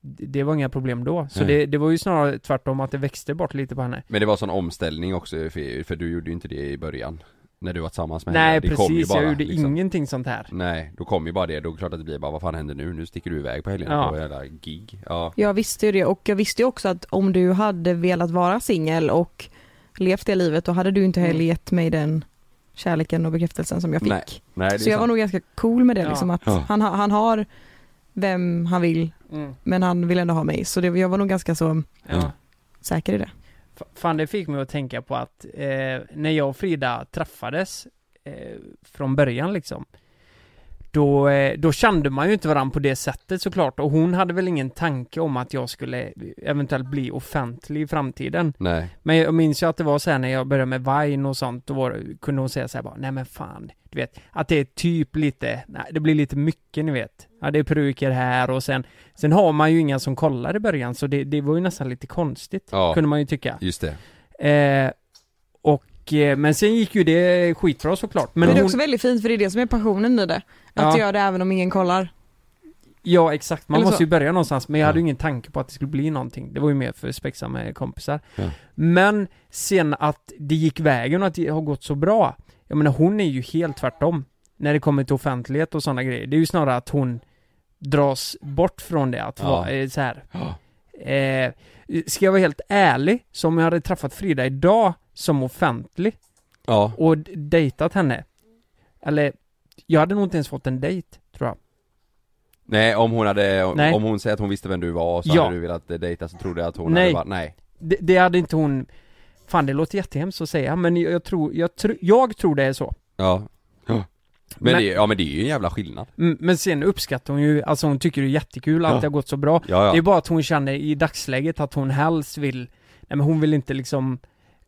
Speaker 8: det var inga problem då. Så
Speaker 6: Nej.
Speaker 8: det, det var ju snarare tvärtom att det växte bort lite på henne.
Speaker 6: Men det var sån omställning också för, för du gjorde ju inte det i början När du var tillsammans med
Speaker 8: nej
Speaker 6: henne, det kom ju
Speaker 8: precis,
Speaker 6: bara,
Speaker 8: jag gjorde
Speaker 6: liksom.
Speaker 8: ingenting sånt här.
Speaker 6: Nej, då kom ju bara det, då är det klart att det blir bara vad fan händer nu? Nu sticker du iväg på helgen
Speaker 8: Ja.
Speaker 6: på jävla gig Ja,
Speaker 3: Jag visste ju det och jag visste ju också att om du hade velat vara singel och levt det livet då hade du inte heller
Speaker 8: Mm.
Speaker 3: gett mig den kärleken och bekräftelsen som jag fick.
Speaker 6: nej, nej det är
Speaker 3: så jag var
Speaker 6: sant.
Speaker 3: nog ganska cool med det
Speaker 8: Ja.
Speaker 3: liksom att
Speaker 6: Ja.
Speaker 3: han, ha- han har vem han vill
Speaker 8: Mm.
Speaker 3: men han vill ändå ha mig så det, jag var nog ganska så
Speaker 8: Ja.
Speaker 6: Mm.
Speaker 3: säker i det.
Speaker 8: F- Fan det fick mig att tänka på att eh, när jag och Frida träffades eh, från början liksom då, eh, då kände man ju inte varandra på det sättet såklart och hon hade väl ingen tanke om att jag skulle eventuellt bli offentlig i framtiden.
Speaker 6: Nej.
Speaker 8: Men jag minns ju att det var så här när jag började med Vine och sånt, då var, kunde hon säga så här bara, nej men fan, du vet, att det är typ lite, nej, det blir lite mycket ni vet. Ja, det är peruker här och sen, sen har man ju inga som kollar i början så det, det var ju nästan lite konstigt,
Speaker 6: Ja.
Speaker 8: kunde man ju tycka.
Speaker 6: Just det.
Speaker 8: Eh, och, eh, men sen gick ju det skitbra såklart.
Speaker 3: Men,
Speaker 8: Men
Speaker 3: det är
Speaker 8: hon,
Speaker 3: också väldigt fint för det är det som är passionen i det. Att
Speaker 8: Ja.
Speaker 3: göra det även om ingen kollar.
Speaker 8: ja exakt, man
Speaker 3: Eller
Speaker 8: måste
Speaker 3: så.
Speaker 8: ju börja någonstans. Men jag hade ju ingen tanke på att det skulle bli någonting. Det var ju mer för spexa med kompisar.
Speaker 6: Ja.
Speaker 8: Men sen att det gick vägen och att det har gått så bra. Jag menar hon är ju helt tvärtom. När det kommer till offentlighet och sådana grejer. Det är ju snarare att hon dras bort från det. Att
Speaker 6: Ja.
Speaker 8: vara eh, så här. Eh, ska jag vara helt ärlig, så om jag hade träffat Frida idag som offentlig
Speaker 6: Ja.
Speaker 8: och d- dejtat henne. Eller, jag hade nog inte ens fått en dejt, tror jag.
Speaker 6: Nej om hon hade,
Speaker 8: Nej.
Speaker 6: om hon säger att hon visste vem du var så
Speaker 8: Ja.
Speaker 6: hade du velat eh, dejta så trodde jag att hon hade bara, nej.
Speaker 8: Det, det hade inte hon... Fan, det låter jättehemskt att säga, men jag, jag tror, jag, tr- jag tror det är så.
Speaker 6: Ja. Ja. Men,
Speaker 8: Men-
Speaker 6: Det, ja men det är ju en jävla skillnad.
Speaker 8: Mm, Men sen uppskattar hon ju, alltså hon tycker det är jättekul att
Speaker 6: Ja.
Speaker 8: det har gått så bra.
Speaker 6: Ja, ja.
Speaker 8: Det är bara att hon känner i dagsläget att hon helst vill, nej men hon vill inte liksom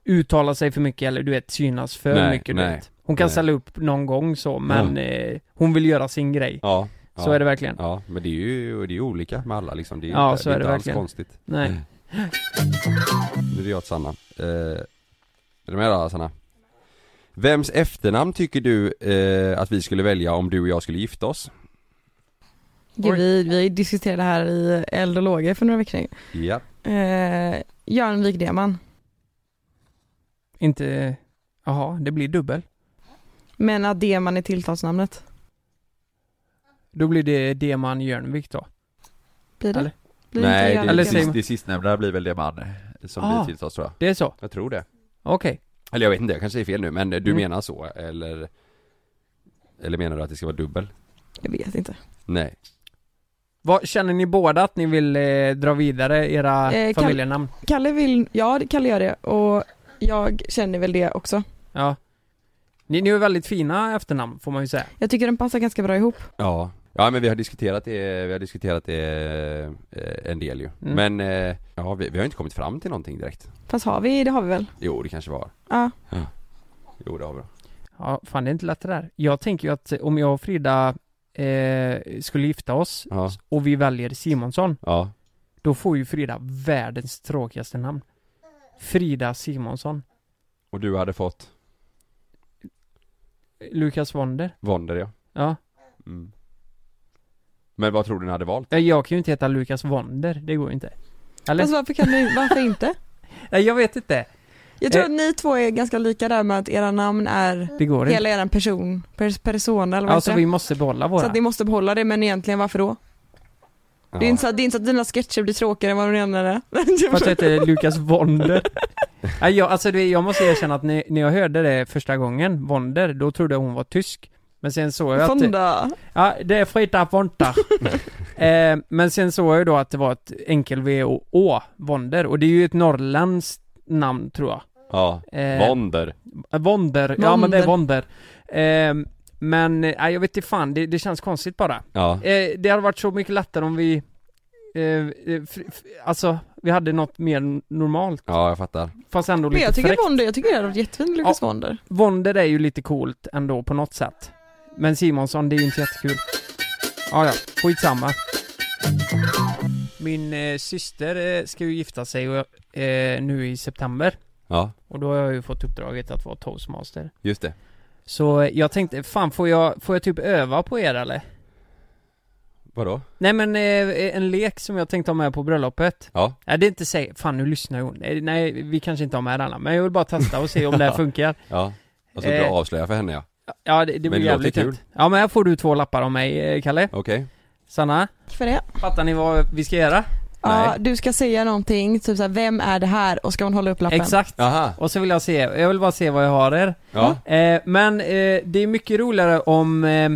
Speaker 8: uttala sig för mycket eller du vet synas för
Speaker 6: Nej,
Speaker 8: mycket
Speaker 6: nej,
Speaker 8: du vet. Hon kan
Speaker 6: nej.
Speaker 8: ställa upp någon gång så men
Speaker 6: Ja.
Speaker 8: eh, hon vill göra sin grej.
Speaker 6: Ja.
Speaker 8: Så
Speaker 6: ja.
Speaker 8: är det verkligen.
Speaker 6: Ja, men det är ju, det är ju olika med alla liksom. Det är ju
Speaker 8: Ja,
Speaker 6: inte,
Speaker 8: så
Speaker 6: det
Speaker 8: är det
Speaker 6: inte
Speaker 8: verkligen.
Speaker 6: alls konstigt. Mm.
Speaker 8: Nej.
Speaker 6: Nu är det jag till Sanna. Eh, är du med då Sanna? Vems efternamn tycker du eh, att vi skulle välja om du och jag skulle gifta oss?
Speaker 3: Gud, vi, vi diskuterade det här i Eld och lågor för några veckor sedan.
Speaker 6: Ja.
Speaker 3: Eh, Göran Wikdeman.
Speaker 8: Inte, jaha, det blir dubbel.
Speaker 3: Men att Deman är tilltalsnamnet.
Speaker 8: Då blir det Deman Jörnvik då.
Speaker 3: Blir det?
Speaker 8: Eller?
Speaker 3: Blir det
Speaker 2: Nej,
Speaker 3: inte
Speaker 2: det,
Speaker 3: Göran
Speaker 2: det,
Speaker 3: Wikdeman?
Speaker 2: sist, det sistnämnda blir väl det man
Speaker 6: eh,
Speaker 2: som
Speaker 8: Ah.
Speaker 2: blir tilltalad tror jag.
Speaker 8: Det är så?
Speaker 6: Jag tror det.
Speaker 8: Okej.
Speaker 6: Eller jag vet inte, jag kanske säger fel nu men du
Speaker 8: Mm.
Speaker 6: menar så eller? Eller menar du att det ska vara dubbel?
Speaker 3: Jag vet inte.
Speaker 6: Nej.
Speaker 8: Vad, känner ni båda att ni vill eh, dra vidare era
Speaker 3: Eh, Kalle-
Speaker 8: familjenamn?
Speaker 3: Kalle vill, ja Kalle gör det och jag känner väl det också.
Speaker 8: Ja. Ni, ni har väldigt fina efternamn får man ju säga.
Speaker 3: Jag tycker den passar ganska bra ihop.
Speaker 6: Ja, ja men vi har diskuterat det, vi har diskuterat det eh, en del ju.
Speaker 3: Mm.
Speaker 6: Men, eh, ja vi, vi har inte kommit fram till någonting direkt.
Speaker 3: Fast har vi, det har vi väl?
Speaker 6: Jo det kanske var.
Speaker 3: Ja.
Speaker 6: Jo det har vi då.
Speaker 8: Ja, fan det är inte lätt det där. Jag tänker ju att om jag och Frida eh, skulle gifta oss
Speaker 6: Ja.
Speaker 8: och vi väljer Simonsson.
Speaker 6: Ja.
Speaker 8: Då får ju Frida världens tråkigaste namn. Frida Simonsson.
Speaker 6: Och du hade fått
Speaker 8: Lukas Wonder.
Speaker 6: Wonder ja.
Speaker 8: Ja.
Speaker 6: Mm. Men vad tror du ni hade valt?
Speaker 8: Eh, Jag kan ju inte heta Lukas Wonder, det går ju inte. Eller?
Speaker 3: Fast varför kan du, varför inte?
Speaker 8: Nej, jag vet inte.
Speaker 3: Jag tror
Speaker 8: Eh.
Speaker 3: att ni två är ganska lika där med att era namn är
Speaker 8: Det går
Speaker 3: hela
Speaker 8: inte.
Speaker 3: er person, pers, persona eller vad
Speaker 8: Alltså
Speaker 3: heter det?
Speaker 8: vi måste behålla
Speaker 3: Så
Speaker 8: våra.
Speaker 3: att ni måste behålla det, men egentligen varför då? Det, är inte så, det är inte så att dina sketcher blir tråkigare än vad de redan är. <laughs>
Speaker 8: Fast det heter Lukas Wonder. <laughs> Nej, jag, alltså det, jag måste erkänna att när, när jag hörde det första gången, Wonder, då trodde jag hon var tysk. Men sen såg jag att...
Speaker 3: Fonda.
Speaker 8: Ja, det är Frida Wonder. eh, men sen såg jag ju då att det var ett enkel V och Å, Wonder. Och det är ju ett norrländskt namn tror jag.
Speaker 6: Ja,
Speaker 8: Eh,
Speaker 6: Wonder.
Speaker 8: Eh, Wonder, ja men det är
Speaker 6: Wonder.
Speaker 8: Wonder. Eh, men, eh, jag vet inte fan, det, det känns konstigt bara.
Speaker 6: Ja.
Speaker 8: Eh, det hade varit så mycket lättare om vi, eh, eh, fr, fr, alltså, vi hade något mer normalt.
Speaker 6: Ja jag fattar.
Speaker 8: Fast ändå
Speaker 3: Men
Speaker 8: lite
Speaker 3: jag tycker
Speaker 8: fräckt.
Speaker 3: Wonder, jag tycker det hade varit jättefint Lukas
Speaker 8: Ja.
Speaker 3: Wonder.
Speaker 8: Wonder är ju lite coolt ändå på något sätt. Men Simonsson, det är ju inte jättekul. Ja, ja, skitsamma. Min eh, syster eh, ska ju gifta sig och, eh, nu i september.
Speaker 6: Ja,
Speaker 8: Och då har jag ju fått uppdraget att vara toastmaster.
Speaker 6: just det.
Speaker 8: Så eh, jag tänkte, fan får jag, får jag typ öva på er eller?
Speaker 6: Vadå?
Speaker 8: Nej men eh, en lek som jag tänkte ha med på bröllopet.
Speaker 6: Ja.
Speaker 8: Nej det är inte säkert, fan nu lyssnar ju hon. Nej, nej vi kanske inte har med denna, men jag vill bara testa och se om
Speaker 6: <laughs>
Speaker 8: det här funkar.
Speaker 6: Ja. Och så du
Speaker 8: Eh.
Speaker 6: avslöjar för henne ja.
Speaker 8: Ja det,
Speaker 6: Men
Speaker 8: det blir
Speaker 6: det låter
Speaker 8: jävligt
Speaker 6: kul.
Speaker 8: kul. Ja men här får du två lappar av mig eh, Kalle.
Speaker 6: Okej.
Speaker 8: Sanna,
Speaker 3: Tack för det.
Speaker 8: fattar ni vad vi ska göra?
Speaker 3: Ja, du ska säga någonting, typ såhär, vem är det här? Och ska man hålla upp lappen?
Speaker 8: Exakt. Och så vill jag se, jag vill bara se vad jag har er.
Speaker 6: Ja.
Speaker 8: Eh, men eh, det är mycket roligare om eh,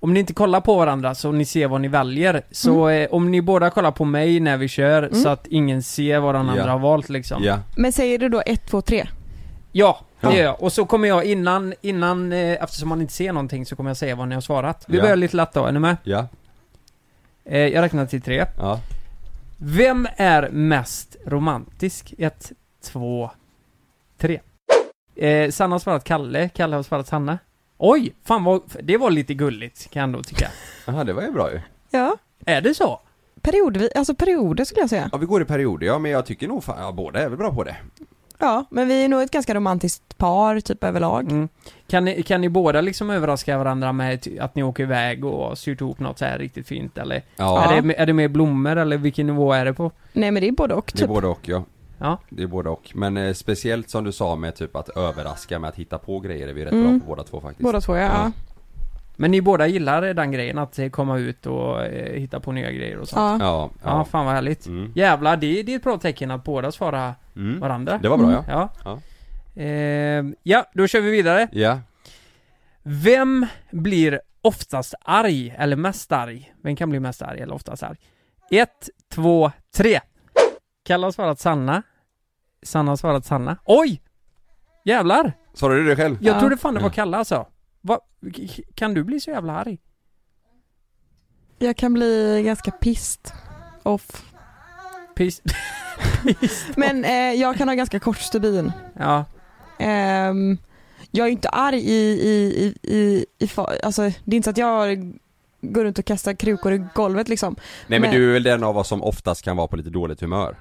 Speaker 8: om ni inte kollar på varandra så ni ser vad ni väljer. Så eh, om ni båda kollar på mig när vi kör så att ingen ser vad den
Speaker 6: Ja.
Speaker 8: andra har valt liksom.
Speaker 6: Ja.
Speaker 3: Men säger du då 1, 2, 3?
Speaker 8: Ja, det gör jag. Och så kommer jag innan, innan, eh, eftersom man inte ser någonting så kommer jag säga vad ni har svarat. Vi
Speaker 6: Ja.
Speaker 8: börjar lite lätt då, är ni med?
Speaker 6: Ja.
Speaker 8: Eh, jag räknar till tre. Vem är mest romantisk? Ett, två, tre. Eh, Sanna har svarat Kalle, Kalle har svarat Sanna. Oj! Fan vad, det var lite gulligt kan jag ändå tycka.
Speaker 6: Jaha, det var ju bra ju.
Speaker 3: Ja.
Speaker 8: Är det så?
Speaker 3: Periodvis, alltså perioder skulle jag säga.
Speaker 6: Ja, vi går i perioder, ja, men jag tycker nog fan, ja, båda är väl bra på det.
Speaker 3: Ja, men vi är nog ett ganska romantiskt par typ överlag.
Speaker 8: Mm. Kan, ni, kan ni båda liksom överraska varandra med ty- att ni åker iväg och syr ihop något så här riktigt fint eller?
Speaker 6: Ja.
Speaker 8: Är, det, är det mer blommor eller vilken nivå är det på?
Speaker 3: Nej men det är både och
Speaker 6: Det är
Speaker 3: typ.
Speaker 6: både och, ja.
Speaker 8: Ja.
Speaker 6: Det är både och. Men eh, speciellt som du sa med typ att överraska med att hitta på grejer är vi rätt
Speaker 3: Mm.
Speaker 6: bra på båda två faktiskt.
Speaker 3: Båda två ja. ja.
Speaker 8: Men ni båda gillar den grejen att eh, komma ut och eh, hitta på nya grejer och sånt?
Speaker 6: Ja. Ja,
Speaker 8: ja.
Speaker 6: ja.
Speaker 8: fan vad härligt.
Speaker 6: Mm.
Speaker 8: Jävlar, det, det är ett bra tecken att båda svarar
Speaker 6: Mm.
Speaker 8: varandra.
Speaker 6: Det var bra, ja.
Speaker 8: Ja.
Speaker 6: Ja.
Speaker 8: Eh, ja, då kör vi vidare.
Speaker 6: Ja.
Speaker 8: Vem blir oftast arg, eller mest arg? Vem kan bli mest arg eller oftast arg? Ett, två, tre. Kalle har svarat Sanna. Sanna har svarat Sanna. Oj! Jävlar!
Speaker 6: Svarade du det själv?
Speaker 8: Jag trodde fan det var Kalle alltså. Va? k- k- Kan du bli så jävla arg?
Speaker 3: Jag kan bli ganska pissed off. <laughs>
Speaker 8: Pis...
Speaker 3: Men eh, jag kan ha ganska kort stubin.
Speaker 8: Ja.
Speaker 3: Ehm, jag är ju inte arg i, i, i, i, i fa- alltså det är inte så att jag går runt och kastar krukor i golvet liksom.
Speaker 6: Nej men du är väl den av oss som oftast kan vara på lite dåligt humör?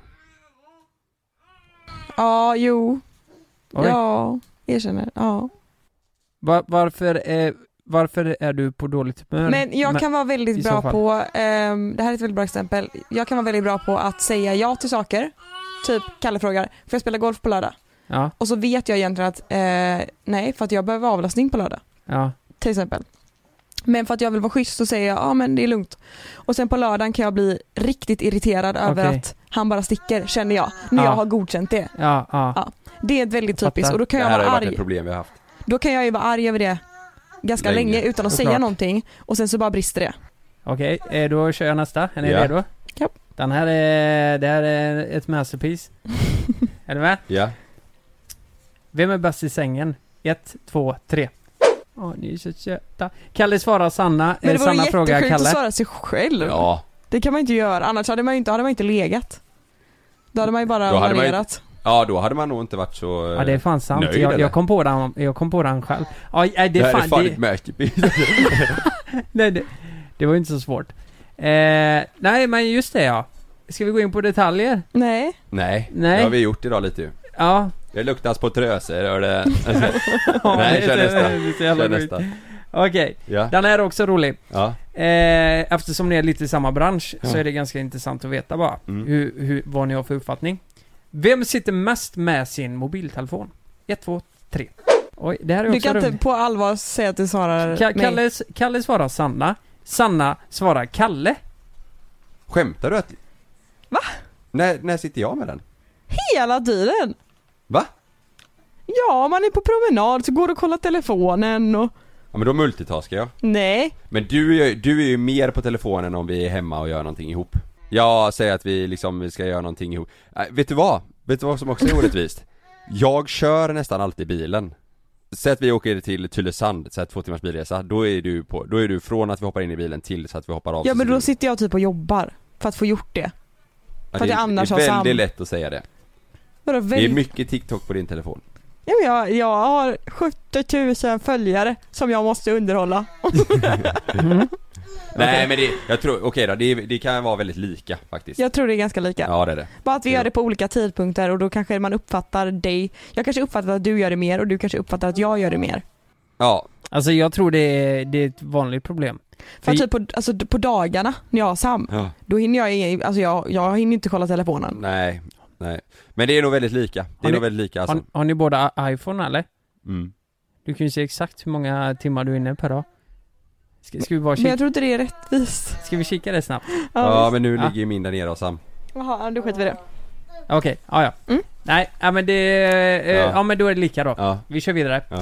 Speaker 3: Ja, jo.
Speaker 8: Oj.
Speaker 3: Ja, erkänner. Ja.
Speaker 8: Va- varför, eh, varför är du på dåligt humör?
Speaker 3: Men jag kan vara
Speaker 8: i
Speaker 3: väldigt
Speaker 8: så
Speaker 3: bra
Speaker 8: fall?
Speaker 3: på, ehm, det här är ett väldigt bra exempel, jag kan vara väldigt bra på att säga ja till saker. Typ Kalle frågar, får jag spela golf på lördag?
Speaker 8: Ja,
Speaker 3: Och så vet jag egentligen att eh, nej, för att jag behöver avlastning på lördag.
Speaker 8: ja.
Speaker 3: Till exempel. Men för att jag vill vara schysst så säger jag, ja ah, men det är lugnt. Och sen på lördagen kan jag bli riktigt irriterad över
Speaker 8: Okej.
Speaker 3: att han bara sticker, känner jag. När
Speaker 8: Ja.
Speaker 3: jag har godkänt det.
Speaker 8: Ja, ja.
Speaker 3: Ja. Det är väldigt
Speaker 8: Jag
Speaker 3: typiskt
Speaker 8: fattar.
Speaker 3: och då kan
Speaker 6: det
Speaker 3: jag
Speaker 6: här
Speaker 3: vara
Speaker 6: har ju varit
Speaker 3: arg.
Speaker 6: ett problem vi har haft.
Speaker 3: Då kan jag ju vara arg över det ganska
Speaker 6: Länge.
Speaker 3: länge, utan att
Speaker 8: Såklart.
Speaker 3: säga någonting och sen så bara brister det.
Speaker 8: Okej, eh, då kör jag nästa. Är ni
Speaker 6: Ja.
Speaker 8: redo?
Speaker 3: Ja.
Speaker 8: Den här är, det här är
Speaker 3: <laughs>
Speaker 8: ett masterpiece. är du med?
Speaker 6: Ja.
Speaker 8: Vem är bäst i sängen? Ett, två, tre. Åh, ni är så söta. Kalle svarar Sanna.
Speaker 3: Men det
Speaker 8: Eh,
Speaker 3: vore
Speaker 8: Sanna frågar
Speaker 3: jättesjukt
Speaker 8: Kalle.
Speaker 3: att svara sig själv.
Speaker 6: Ja.
Speaker 3: Det kan man inte göra, annars hade man ju inte, hade man inte legat. Då hade man ju bara
Speaker 6: Då hade man ju-
Speaker 3: planerat.
Speaker 6: Ja, då hade man nog inte varit så eh,
Speaker 8: Ja det är fan sant.
Speaker 6: nöjd
Speaker 8: jag,
Speaker 6: eller?
Speaker 8: jag kom på den, jag kom på den själv. Ja, eh, det är
Speaker 6: det här
Speaker 8: fan,
Speaker 6: är fan
Speaker 8: det,
Speaker 6: ett
Speaker 8: <laughs>
Speaker 6: masterpiece.
Speaker 8: nej, det, det var ju inte så svårt. Eh, nej men just det ja. Ska vi gå in på detaljer?
Speaker 3: Nej.
Speaker 6: Nej,
Speaker 8: Nej.
Speaker 6: det har vi gjort idag lite ju.
Speaker 8: Ja.
Speaker 6: Det luktas på tröser, hör det.
Speaker 8: Ja,
Speaker 6: Nej,
Speaker 8: <laughs> det är
Speaker 6: kör
Speaker 8: så-
Speaker 6: nästa.
Speaker 8: det är så <laughs> jävla
Speaker 6: Kör
Speaker 8: sjukt.
Speaker 6: nästa.
Speaker 8: Okej.
Speaker 6: Ja.
Speaker 8: Den här är också rolig.
Speaker 6: Ja.
Speaker 8: Eh, eftersom ni är lite i samma bransch så
Speaker 6: Ja.
Speaker 8: är det ganska intressant att veta bara
Speaker 6: Mm.
Speaker 8: hur, hur, vad ni har för uppfattning. Vem sitter mest med sin mobiltelefon? Ett, två, tre. Oj, det här
Speaker 3: Du
Speaker 8: är också
Speaker 3: kan inte
Speaker 8: roligt.
Speaker 3: på allvar säga att du svarar
Speaker 8: Ka-
Speaker 3: mig.
Speaker 8: Kalle, Kalle svarar Sanna. Sanna svarar Kalle.
Speaker 6: Skämtar du att... Va? När, när sitter jag med den?
Speaker 3: Hela tiden!
Speaker 6: Va?
Speaker 3: Ja, man är på promenad så går du och kollar telefonen och...
Speaker 6: Ja men då multitaskar jag.
Speaker 3: Nej.
Speaker 6: Men du är, ju- du är ju mer på telefonen om vi är hemma och gör någonting ihop. Jag säger att vi liksom vi ska göra någonting ihop. Äh, vet du vad? Vet du vad som också är orättvist?
Speaker 8: <laughs>
Speaker 6: Jag kör nästan alltid bilen. Säg att vi åker till Tylösand, så här två timmars bilresa, då är du på, då är du från att vi hoppar in i bilen till så att vi hoppar av
Speaker 3: Ja men då
Speaker 6: bilen.
Speaker 3: sitter jag typ och jobbar för att få gjort det.
Speaker 6: Ja,
Speaker 3: för att jag annars har
Speaker 6: Det är
Speaker 3: sam-
Speaker 6: väldigt lätt att säga det.
Speaker 3: Vadå,
Speaker 6: Det är
Speaker 3: väldigt...
Speaker 6: mycket TikTok på din telefon.
Speaker 3: ja, men jag, jag har 70 000 följare som jag måste underhålla.
Speaker 6: Nej men det, jag tror, okej då, det, det kan vara väldigt lika faktiskt.
Speaker 3: Jag tror det är ganska lika.
Speaker 6: Ja det är det.
Speaker 3: Bara att vi gör det på olika tidpunkter och då kanske man uppfattar dig. Jag kanske uppfattar att du gör det mer och du kanske uppfattar att jag gör det mer.
Speaker 6: Ja.
Speaker 8: Alltså jag tror det är, det är ett vanligt problem.
Speaker 3: För
Speaker 8: Vi-
Speaker 3: att typ på, alltså, på dagarna när jag har Sam,
Speaker 6: ja.
Speaker 3: då hinner jag, ingen- alltså jag, jag hinner inte kolla telefonen.
Speaker 6: Nej, nej. Men det är nog väldigt lika. Det
Speaker 8: Har
Speaker 6: är
Speaker 8: ni-
Speaker 6: nog väldigt lika alltså.
Speaker 8: Har, har ni båda i- iPhone eller?
Speaker 6: Mm.
Speaker 8: Du kan ju se exakt hur många timmar du är inne per dag. Ska, ska vi bara
Speaker 3: Men
Speaker 8: kika?
Speaker 3: jag tror inte det är rättvist.
Speaker 8: Ska vi kika det snabbt?
Speaker 6: Ja
Speaker 3: visst.
Speaker 6: men nu
Speaker 8: Ja.
Speaker 6: ligger ju min där nere och Sam.
Speaker 3: Jaha, då skiter vi i det.
Speaker 8: Okej, ja ja. Nej, ja, men det... Eh, ja.
Speaker 6: Mm. Ja.
Speaker 8: men då är det lika då.
Speaker 6: Ja.
Speaker 8: Vi kör vidare.
Speaker 6: Ja.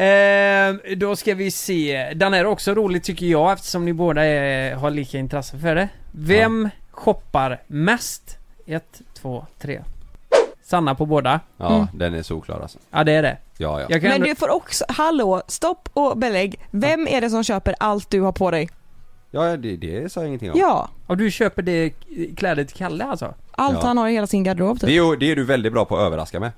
Speaker 8: Eh, då ska vi se. Den här är också rolig tycker jag eftersom ni båda är, har lika intresse för det. Vem shoppar mest? Ett, två, tre. Sanna på båda.
Speaker 6: Ja,
Speaker 8: Mm.
Speaker 6: den är solklar alltså.
Speaker 8: Ja det är det.
Speaker 6: Ja, ja.
Speaker 8: Jag kan
Speaker 3: Men
Speaker 8: ändå-
Speaker 3: du får också, hallå, stopp och belägg. Vem är det som köper allt du har på dig?
Speaker 6: Ja, det, det sa jag ingenting om.
Speaker 3: Ja.
Speaker 8: Och du köper det kläder till Kalle alltså?
Speaker 3: Allt
Speaker 6: Ja.
Speaker 3: han har i hela sin garderob typ.
Speaker 6: Det är, ju- det är du väldigt bra på att överraska med.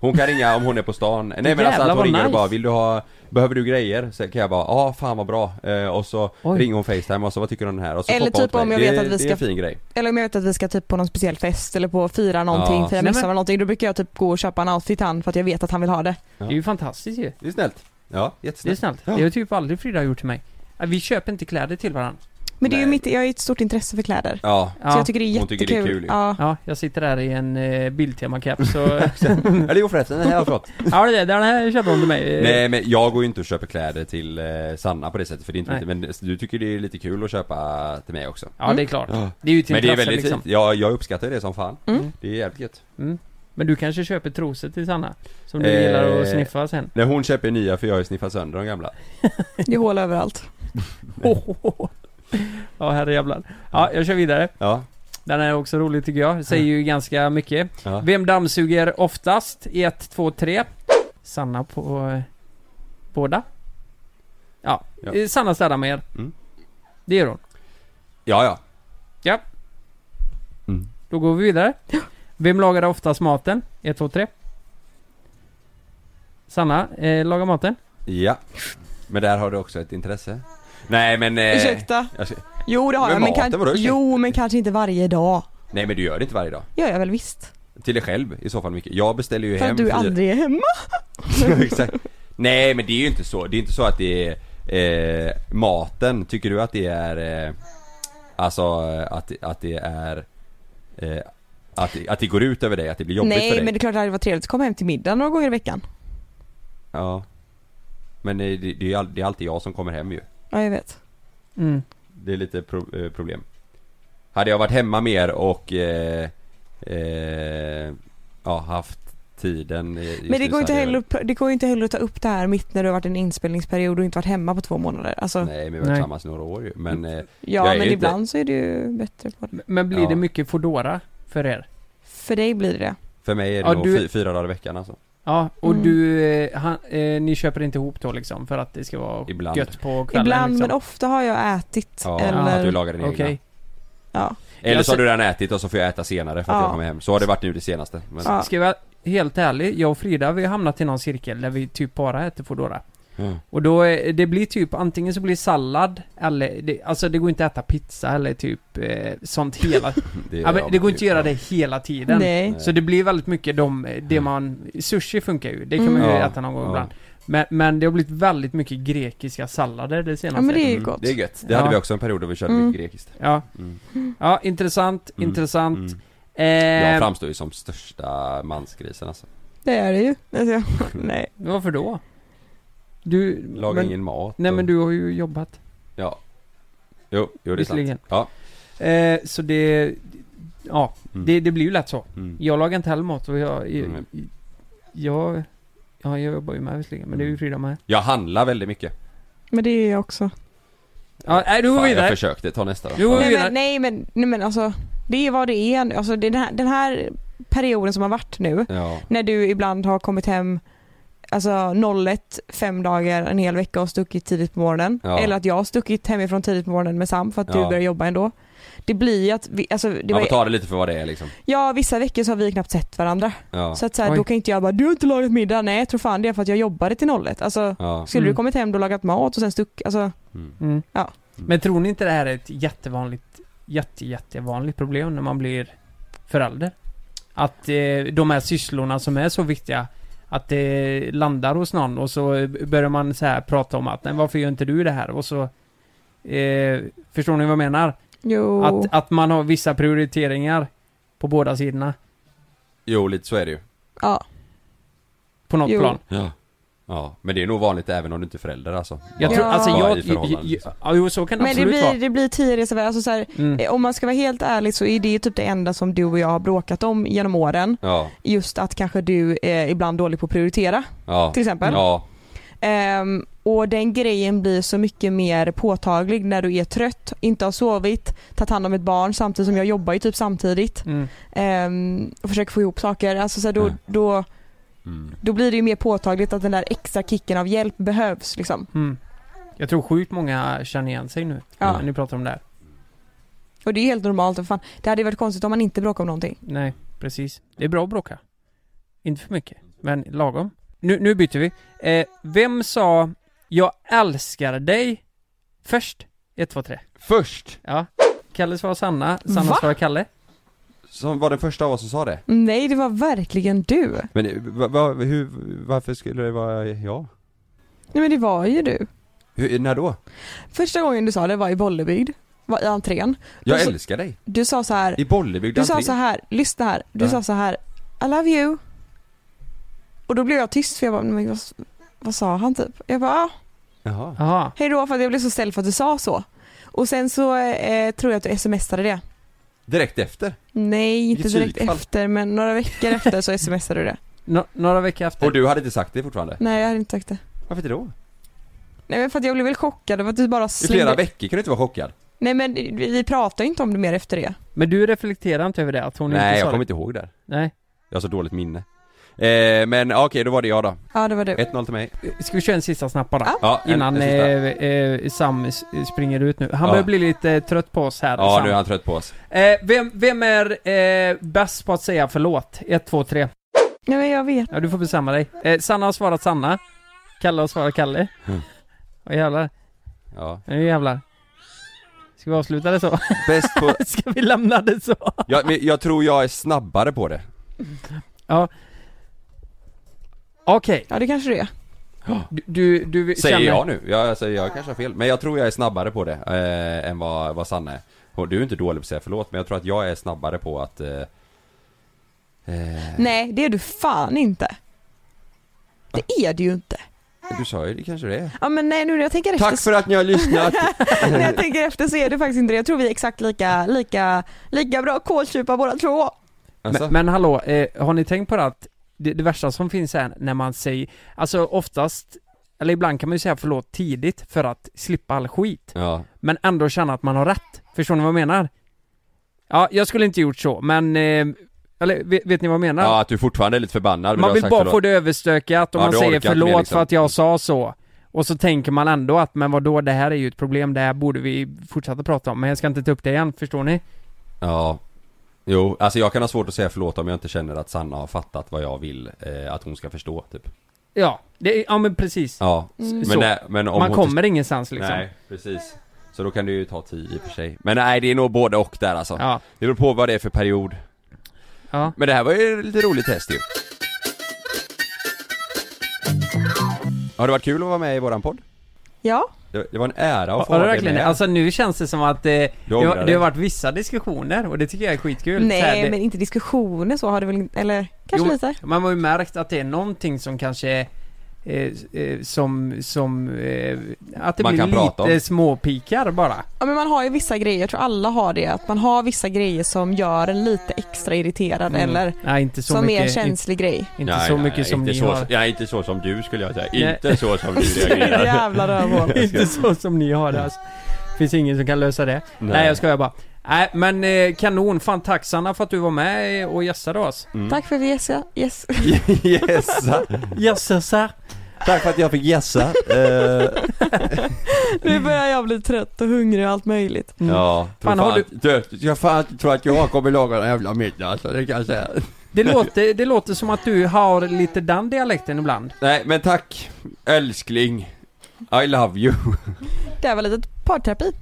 Speaker 6: Hon kan ringa om hon är på stan. Nej men alltså
Speaker 8: Jävlar,
Speaker 6: att hon
Speaker 8: vad
Speaker 6: ringer och
Speaker 8: nice.
Speaker 6: bara 'Vill du ha, behöver du grejer?' Så kan jag bara 'Ja, fan vad bra' eh, Och så ringer hon facetime och så 'Vad tycker du om den här?' Och så
Speaker 3: Eller
Speaker 6: poppar hon
Speaker 3: typ
Speaker 6: till
Speaker 3: om
Speaker 6: mig.
Speaker 3: jag
Speaker 6: det,
Speaker 3: vet att vi
Speaker 6: det
Speaker 3: ska...
Speaker 6: är en fin grej.
Speaker 3: Eller om jag vet att vi ska typ på någon speciell fest eller på att fira någonting,
Speaker 6: Ja.
Speaker 3: fira
Speaker 6: Nej, men-
Speaker 3: midsommar eller någonting. Då brukar jag typ gå och köpa en outfit till han för att jag vet att han vill ha det.
Speaker 8: Det är ju fantastiskt ju.
Speaker 6: Det är snällt. Ja, jättesnällt.
Speaker 8: Det är snällt.
Speaker 6: Ja.
Speaker 8: Det har typ aldrig Frida gjort till mig. Äh, Vi köper inte kläder till varandra.
Speaker 3: Men det är ju mitt, jag har ju ett stort intresse för kläder.
Speaker 6: Ja.
Speaker 3: Så jag tycker det är jättekul. ja.
Speaker 8: ja, jag sitter där i en eh, Biltema-keps och...
Speaker 6: Eller jo förresten, den här har jag
Speaker 8: <laughs>
Speaker 6: fått.
Speaker 8: ja, det är det. Den här köpte hon till mig. Eh,
Speaker 6: Nej men jag går ju inte och köper kläder till eh, Sanna på det sättet för det är inte
Speaker 8: Nej.
Speaker 6: mitt, men du tycker det är lite kul att köpa till mig också
Speaker 8: Ja, det är klart. Det är ju ett
Speaker 6: Men det är
Speaker 8: intresse,
Speaker 6: väldigt
Speaker 8: liksom.
Speaker 6: fint, jag, jag uppskattar det som fan Det är jävligt gött
Speaker 8: Mm. Men du kanske köper trosor till Sanna? Som du gillar att
Speaker 6: Eh,
Speaker 8: sniffa sen?
Speaker 6: Nej hon köper nya för jag har ju sniffat sönder de gamla
Speaker 3: Det är hål överallt.
Speaker 8: Ja, herrejävlar. Ja, jag kör vidare.
Speaker 6: Ja.
Speaker 8: Den är också rolig tycker jag. Säger ju ganska mycket.
Speaker 6: Ja.
Speaker 8: Vem dammsuger oftast? 1, 2, 3. Sanna på eh, båda. Ja,
Speaker 6: Ja.
Speaker 8: Eh, Sanna städar mer.
Speaker 6: Mm.
Speaker 8: Det gör hon.
Speaker 6: Ja ja,
Speaker 8: Ja.
Speaker 6: Mm.
Speaker 8: Då går vi vidare. Vem lagar oftast maten? 1, 2, 3. Sanna eh, lagar maten.
Speaker 6: ja Men där har du också ett intresse Nej men... Eh,
Speaker 3: Ursäkta?
Speaker 6: jag ska-
Speaker 3: Jo det har
Speaker 6: Men
Speaker 3: jag men,
Speaker 6: maten, vadå,
Speaker 3: kan...
Speaker 6: ursäkta?
Speaker 3: jo, men kanske inte varje dag.
Speaker 6: Nej men du gör det inte varje dag
Speaker 3: gör jag väl visst.
Speaker 6: Till dig själv i så fall mycket Jag beställer ju
Speaker 3: För
Speaker 6: hem
Speaker 3: att du
Speaker 6: fyra-
Speaker 3: aldrig är hemma.
Speaker 6: <laughs> Exakt. Nej men det är ju inte så, det är inte så att det är eh, maten, tycker du att det är eh, Alltså eh, att, att det är eh, att, att det går ut över dig, att det blir jobbigt
Speaker 3: Nej
Speaker 6: för dig?
Speaker 3: men det är klart det hade varit trevligt att komma hem till middag några gånger i veckan.
Speaker 6: Ja Men eh, det, det, är, ju all- det är alltid jag som kommer hem ju
Speaker 3: Ja jag vet.
Speaker 6: Det är lite pro, eh, problem Hade jag varit hemma mer och eh, eh, Ja haft tiden eh, just nu
Speaker 3: Men det
Speaker 6: så
Speaker 3: går, inte
Speaker 6: hade jag
Speaker 3: heller, upp- det går inte heller att ta upp det här mitt när du har varit i en inspelningsperiod och inte varit hemma på två månader. Alltså,
Speaker 6: Nej men vi har varit tillsammans i några år ju men eh,
Speaker 3: Ja
Speaker 6: jag är
Speaker 3: men
Speaker 6: ju
Speaker 3: ibland så är du ju bättre på det.
Speaker 8: Men blir
Speaker 6: Ja.
Speaker 8: det mycket Foodora för er?
Speaker 3: För dig blir det det.
Speaker 6: För mig är det
Speaker 8: Ja,
Speaker 6: nog
Speaker 8: du-
Speaker 6: fy- fyra dagar i veckan alltså
Speaker 8: Ja, och
Speaker 3: Mm.
Speaker 8: du, eh, han, eh, ni köper inte ihop då liksom för att det ska vara
Speaker 6: Ibland.
Speaker 8: gött på kvällen
Speaker 3: Ibland
Speaker 8: liksom.
Speaker 3: men ofta har jag ätit
Speaker 6: Ja,
Speaker 3: eller...
Speaker 6: att du lagar din
Speaker 8: Okej.
Speaker 6: egna.
Speaker 3: Ja.
Speaker 6: Eller
Speaker 8: Jag
Speaker 6: så har
Speaker 8: ser-
Speaker 6: du redan ätit och så får jag äta senare för att
Speaker 8: Ja.
Speaker 6: jag kommer hem. Så har det varit nu det senaste. Men...
Speaker 8: S- Ska jag vara helt ärlig, jag och Frida vi har hamnat i någon cirkel där vi typ bara äter Foodora.
Speaker 6: Mm.
Speaker 8: Och då, eh, det blir typ antingen så blir det sallad eller, det, alltså det går inte att äta pizza eller typ eh, sånt hela.
Speaker 6: Det
Speaker 8: det,
Speaker 6: är
Speaker 8: ja, men
Speaker 6: jag
Speaker 8: det går
Speaker 6: med
Speaker 8: inte
Speaker 6: typ,
Speaker 8: att göra
Speaker 6: ja.
Speaker 8: det hela tiden.
Speaker 3: Nej.
Speaker 8: Så det blir väldigt mycket de, det man, sushi funkar ju, det kan
Speaker 6: Mm.
Speaker 8: man ju
Speaker 6: Ja,
Speaker 8: äta någon gång
Speaker 6: ja.
Speaker 8: ibland. Men, men det har blivit väldigt mycket grekiska sallader det senaste.
Speaker 3: men det är ju Mm. gott.
Speaker 6: Det är gött. Det hade vi också en period då vi körde
Speaker 8: Mm.
Speaker 6: mycket grekiskt.
Speaker 8: Ja.
Speaker 6: Mm.
Speaker 8: Ja, intressant,
Speaker 6: Mm.
Speaker 8: intressant.
Speaker 6: Mm.
Speaker 8: Eh,
Speaker 6: Jag framstår ju som största mansgrisen
Speaker 8: <laughs>
Speaker 6: alltså.
Speaker 3: Det är det ju. Alltså,
Speaker 6: Mm.
Speaker 3: nej.
Speaker 8: Varför då? Du...
Speaker 6: Lagar
Speaker 8: men-
Speaker 6: ingen mat.
Speaker 8: Nej
Speaker 6: och-
Speaker 8: men du har ju jobbat.
Speaker 6: Ja. Jo, jo det är
Speaker 8: Visserligen.
Speaker 6: sant. Ja.
Speaker 8: Eh, så det... Ja,
Speaker 6: Mm.
Speaker 8: det, det blir ju lätt så.
Speaker 6: Mm.
Speaker 8: Jag lagar inte heller mat och jag... Jag,
Speaker 6: Mm.
Speaker 8: jag, ja, jag jobbar ju med visserligen, men det är
Speaker 6: Mm.
Speaker 8: ju Frida med.
Speaker 6: Jag handlar väldigt mycket.
Speaker 3: Men det är jag också.
Speaker 8: Ja, nej, då går
Speaker 6: Fan,
Speaker 8: vi
Speaker 6: jag
Speaker 8: vidare.
Speaker 6: försökte. Ta nästa då.
Speaker 8: Jo,
Speaker 6: Ja.
Speaker 3: Nej men, nej, men, nej men alltså, det är vad det är nu. Alltså, det är den, här, den här perioden som har varit nu,
Speaker 6: Ja.
Speaker 3: när du ibland har kommit hem alltså 01 fem dagar, en hel vecka och stuckit tidigt på morgonen.
Speaker 6: Ja.
Speaker 3: Eller att jag har stuckit hemifrån tidigt på morgonen med Sam för att du
Speaker 6: Ja.
Speaker 3: börjar jobba ändå. Det blir ju att, vi, alltså, det
Speaker 6: Man
Speaker 3: var,
Speaker 6: får ta det lite för vad det är liksom.
Speaker 3: ja vissa veckor så har vi knappt sett varandra.
Speaker 6: Ja.
Speaker 3: Så att så här,
Speaker 6: Oj.
Speaker 3: då kan inte jag bara, du har inte lagat middag, nej jag tror fan det är för att jag jobbade till 01. Alltså,
Speaker 6: Ja.
Speaker 3: skulle du
Speaker 8: Mm.
Speaker 3: kommit hem då och lagat mat och sen stuck, alltså,
Speaker 8: Mm.
Speaker 3: ja.
Speaker 8: Men tror ni inte det här är ett jättevanligt, jätte, jättevanligt problem när man blir förälder? Att eh, de här sysslorna som är så viktiga, att det landar hos någon och så börjar man så här prata om att nej, varför gör inte du det här? Och så... Eh, förstår ni vad jag menar?
Speaker 3: Jo.
Speaker 8: Att, att man har vissa prioriteringar på båda sidorna,
Speaker 6: Jo, lite så är det ju.
Speaker 3: ja.
Speaker 8: på något plan.
Speaker 6: Ja. Ja, men det är nog vanligt även om du inte är förälder alltså.
Speaker 8: Jag
Speaker 6: Bara-
Speaker 8: tror, alltså
Speaker 6: bara
Speaker 8: jag...
Speaker 6: i
Speaker 8: jag,
Speaker 6: förhållanden,
Speaker 8: jag,
Speaker 6: liksom.
Speaker 8: ja, jo, så kan det
Speaker 3: Men det
Speaker 8: absolut vara.
Speaker 3: blir, det blir tio resor värre. alltså så här,
Speaker 8: Mm.
Speaker 3: eh, Om man ska vara helt ärlig så är det ju typ det enda som du och jag har bråkat om genom åren.
Speaker 6: Ja.
Speaker 3: eh, Just att kanske du är ibland dålig på att prioritera.
Speaker 6: Ja.
Speaker 3: Till exempel.
Speaker 6: Ja.
Speaker 3: Ehm, och den grejen blir så mycket mer påtaglig när du är trött, inte har sovit, tagit hand om ett barn samtidigt som jag jobbar ju typ samtidigt
Speaker 8: Mm.
Speaker 3: ehm, och försöker få ihop saker. Alltså så här, då, då,
Speaker 6: Mm.
Speaker 3: då blir det ju mer påtagligt att den där extra kicken av hjälp behövs liksom.
Speaker 8: Mm. Jag tror sjukt många känner igen sig nu,
Speaker 3: Ja.
Speaker 8: när ni pratar om det här.
Speaker 3: Och det är helt normalt. och Fan, det hade ju varit konstigt om man inte bråkade om någonting.
Speaker 8: Nej, precis. Det är bra att bråka. Inte för mycket, men lagom. Nu, nu byter vi. Eh, vem sa 'Jag älskar dig' först? 1, 2, 3.
Speaker 6: Först?
Speaker 8: Ja. Kalle svarar Sanna, Sanna
Speaker 3: Va?
Speaker 8: svarar Kalle.
Speaker 6: Som var den första av oss som sa det.
Speaker 3: Nej, det var verkligen du.
Speaker 6: Men eh, va, va, hur, varför skulle det vara jag?
Speaker 3: Nej men det var ju du.
Speaker 6: Hur, eh, när då?
Speaker 3: Första gången du sa det var i Bollebygd, var i entrén.
Speaker 6: Jag
Speaker 3: Du sa-
Speaker 6: älskar dig.
Speaker 3: Du sa så här,
Speaker 6: I Bollebygd
Speaker 3: du sa
Speaker 6: entré.
Speaker 3: så här, lyssna här, du
Speaker 6: Ja.
Speaker 3: sa så här I love you. Och då blev jag tyst för jag bara, men vad, vad sa han typ? Jag bara, ah,
Speaker 6: Jaha.
Speaker 8: Jaha.
Speaker 3: hej då för att jag blev så ställd för att du sa så. Och sen så eh, tror jag att du smsade det.
Speaker 6: Direkt efter.
Speaker 3: Nej, inte
Speaker 6: Vilket
Speaker 3: direkt
Speaker 6: psykfall.
Speaker 3: efter men några veckor efter så smsade du det. <laughs>
Speaker 8: några veckor efter.
Speaker 6: Och du hade inte sagt det fortfarande?
Speaker 3: Nej jag hade inte sagt det.
Speaker 6: Varför inte då?
Speaker 3: Nej men för att jag blev väl chockad över att du bara
Speaker 6: I flera
Speaker 3: slängde.
Speaker 6: veckor kan du inte vara chockad.
Speaker 3: Nej men vi pratade ju inte om det mer efter det.
Speaker 8: Men du reflekterar inte över det, att hon
Speaker 6: Nej,
Speaker 8: inte sa
Speaker 6: jag
Speaker 8: det?
Speaker 6: kommer inte ihåg det. här.
Speaker 8: Nej.
Speaker 6: Jag har så dåligt minne. Eh, men okej, då var det jag då.
Speaker 3: Ja det var du.
Speaker 6: 1-0 till mig.
Speaker 8: Ska vi köra en sista snabb bara?
Speaker 6: Ja, en-
Speaker 8: Innan
Speaker 6: en sista.
Speaker 8: eh, eh, Sam s- springer ut nu. Han
Speaker 6: Ja.
Speaker 8: börjar bli lite eh, trött på oss här.
Speaker 6: Ja,
Speaker 8: Sam.
Speaker 6: nu är han trött på oss.
Speaker 8: Eh, vem, vem är eh, bäst på att säga förlåt? 1, 2, 3.
Speaker 3: Nej men jag vet.
Speaker 8: Ja, du får bestämma dig. Eh, Sanna har svarat Sanna. Kalle har svarat Kalle.
Speaker 6: Mm.
Speaker 8: Åh jävlar.
Speaker 6: Ja.
Speaker 8: Nu jävlar. Ska vi avsluta det så? <laughs>
Speaker 6: Bäst <laughs> på...
Speaker 8: Ska vi lämna det så?
Speaker 6: Jag, men jag tror jag är snabbare på det.
Speaker 8: Ja. Okej.
Speaker 3: Ja det kanske det är.
Speaker 6: Äh.
Speaker 8: Du, du, du
Speaker 6: Säger
Speaker 8: känner...
Speaker 6: jag nu. Jag, alltså, jag kanske har fel. Men jag tror jag är snabbare på det eh, än vad, vad Sanna är. Och Du är inte dålig på att säga förlåt, men jag tror att jag är snabbare på att... Eh, eh,
Speaker 3: Nej det är du fan inte. Det är du ju inte.
Speaker 6: du sa ju det kanske det är.
Speaker 3: Ja men nej nu när jag tänker efter
Speaker 6: Tack för att ni har <laughs> lyssnat!
Speaker 3: När jag tänker efter så är det faktiskt inte det. Jag tror vi är exakt lika, lika, lika bra kåltjupa båda två.
Speaker 6: alltså?
Speaker 8: Men, men hallå, eh, har ni tänkt på det att det, det värsta som finns är när man säger, alltså oftast, eller ibland kan man ju säga förlåt tidigt för att slippa all skit.
Speaker 6: Ja.
Speaker 8: Men ändå känna att man har rätt. Förstår ni vad jag menar? Ja, jag skulle inte gjort så, men, eh, eller vet, vet ni vad jag menar?
Speaker 6: Ja, att du fortfarande är lite förbannad men du
Speaker 8: man
Speaker 6: har
Speaker 8: vill
Speaker 6: sagt
Speaker 8: bara
Speaker 6: förlåt.
Speaker 8: få det överstökat och
Speaker 6: Ja,
Speaker 8: man
Speaker 6: du orkar
Speaker 8: säger
Speaker 6: inte mer,
Speaker 8: förlåt
Speaker 6: liksom.
Speaker 8: för att jag sa så. Och så tänker man ändå att, men vadå, det här är ju ett problem, det här borde vi fortsätta prata om, men jag ska inte ta upp det igen, förstår ni?
Speaker 6: Ja Jo, alltså jag kan ha svårt att säga förlåt om jag inte känner att Sanna har fattat vad jag vill eh, att hon ska förstå typ
Speaker 8: Ja, det, ja men precis.
Speaker 6: Ja,
Speaker 8: Mm.
Speaker 6: men,
Speaker 8: Så.
Speaker 6: nej, men om
Speaker 8: Man
Speaker 6: hon
Speaker 8: kommer ingenstans, liksom.
Speaker 6: Nej, precis Så då kan det ju ta tid i och för sig Men nej, det är nog både och där alltså
Speaker 8: Ja.
Speaker 6: Det beror på vad det är för period
Speaker 8: Ja.
Speaker 6: Men det här var ju lite roligt test ju Har det varit kul att vara med i våran podd?
Speaker 3: Ja.
Speaker 6: Det, det var en ära att få
Speaker 8: Har du
Speaker 6: vara
Speaker 8: verkligen
Speaker 6: med
Speaker 8: det? Alltså nu känns det som att eh, det, har,
Speaker 6: ångrar
Speaker 8: det
Speaker 6: dig.
Speaker 8: har varit vissa diskussioner och det tycker jag är skitkul. Så här,
Speaker 3: Nej
Speaker 8: det,
Speaker 3: men inte diskussioner så har det väl inte, eller kanske
Speaker 8: Jo,
Speaker 3: lite.
Speaker 8: Man har ju märkt att det är någonting som kanske eh, eh, som, som, eh, att det
Speaker 6: Man
Speaker 8: blir
Speaker 6: kan prata
Speaker 8: lite
Speaker 6: om.
Speaker 8: småpikar bara.
Speaker 3: Ja men man har ju vissa grejer, jag tror alla har det, att man har vissa grejer som gör en lite extra irriterad
Speaker 8: Mm.
Speaker 3: eller
Speaker 8: Nej, inte så
Speaker 3: som är en
Speaker 8: mycket.
Speaker 3: känslig grej.
Speaker 8: Inte så mycket
Speaker 6: nej,
Speaker 8: som
Speaker 6: inte
Speaker 8: ni
Speaker 6: så, <laughs>
Speaker 8: har.
Speaker 6: Ja, inte så som du skulle jag säga,
Speaker 8: Nej.
Speaker 6: inte så som
Speaker 8: <laughs>
Speaker 6: du
Speaker 3: <laughs>
Speaker 6: reagerar
Speaker 3: Jävla rövhål.
Speaker 8: inte så som ni har det alltså. Finns ingen som kan lösa det. Nej,
Speaker 6: Nej.
Speaker 8: jag skojar bara. Nej men eh, kanon, fan tack Sanna för att du var med och gästade oss.
Speaker 6: Mm.
Speaker 3: Tack för att vi gästade, yes.
Speaker 6: Gässa!
Speaker 8: Gässasa!
Speaker 6: Tack för att jag fick gässa! Eh,
Speaker 3: Nu börjar jag bli trött och hungrig och allt möjligt.
Speaker 6: Ja,
Speaker 8: Fan,
Speaker 6: fan,
Speaker 8: har
Speaker 6: fan, du... jag fan inte tror att jag kommer laga den jävla middagen så det kan jag säga.
Speaker 8: Det låter, det låter som att du har lite den dialekten ibland.
Speaker 6: Nej men tack, älskling. I love you.
Speaker 3: Det här var lite <laughs> parterapi.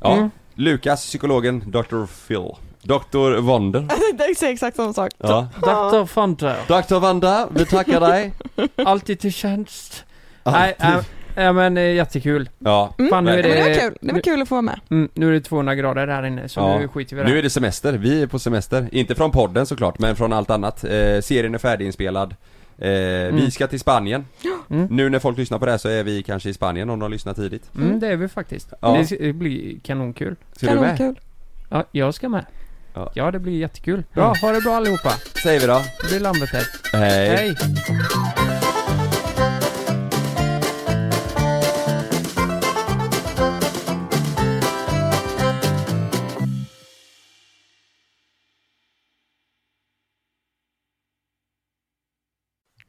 Speaker 6: Ja,
Speaker 3: Mm.
Speaker 6: Lukas, psykologen, Dr. Phil. Dr. Wonder.
Speaker 3: Jag tänkte säga exakt samma sak.
Speaker 6: Ja.
Speaker 8: Dr. Fonte.
Speaker 6: Dr. Wanda, vi tackar dig.
Speaker 8: <laughs> Alltid till tjänst. Nej, äh, äh, men eh, jättekul.
Speaker 6: Ja.
Speaker 8: Fan, nu är
Speaker 3: Men Mm. det var kul, det var
Speaker 8: nu-
Speaker 3: kul att få vara med.
Speaker 8: Mm, nu är det 200 grader här inne så
Speaker 6: Ja.
Speaker 8: nu skiter vi i det.
Speaker 6: Nu är det semester, vi är på semester. Inte från podden såklart, men från allt annat. Eh, serien är färdiginspelad. Eh, Vi ska till Spanien. Nu när folk lyssnar på det här så är vi kanske i Spanien om de lyssnar tidigt.
Speaker 8: Mm, det är vi faktiskt.
Speaker 6: Ja.
Speaker 8: Det ska- Det blir kanonkul.
Speaker 6: Ska du med?
Speaker 3: Kanonkul.
Speaker 8: Ja, jag ska med.
Speaker 6: Ja.
Speaker 8: Ja, det blir jättekul. Bra, ha det bra allihopa.
Speaker 6: Säger vi då.
Speaker 8: Det blir Lambert här.
Speaker 6: Hej.
Speaker 8: Hej.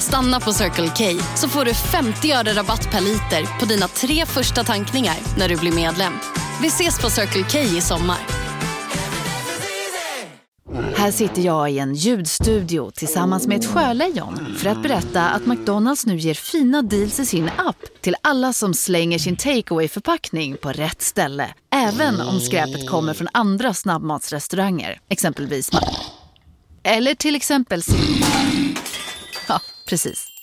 Speaker 10: Stanna på Circle K så får du 50 öre rabatt per liter på dina tre första tankningar när du blir medlem. Vi ses på Circle K i sommar.
Speaker 11: Här sitter jag i en ljudstudio tillsammans med ett sjölejon för att berätta att McDonalds nu ger fina deals i sin app till alla som slänger sin takeaway förpackning på rätt ställe. Även om skräpet kommer från andra snabbmatsrestauranger, exempelvis Ma- Eller till exempel Ja, precis.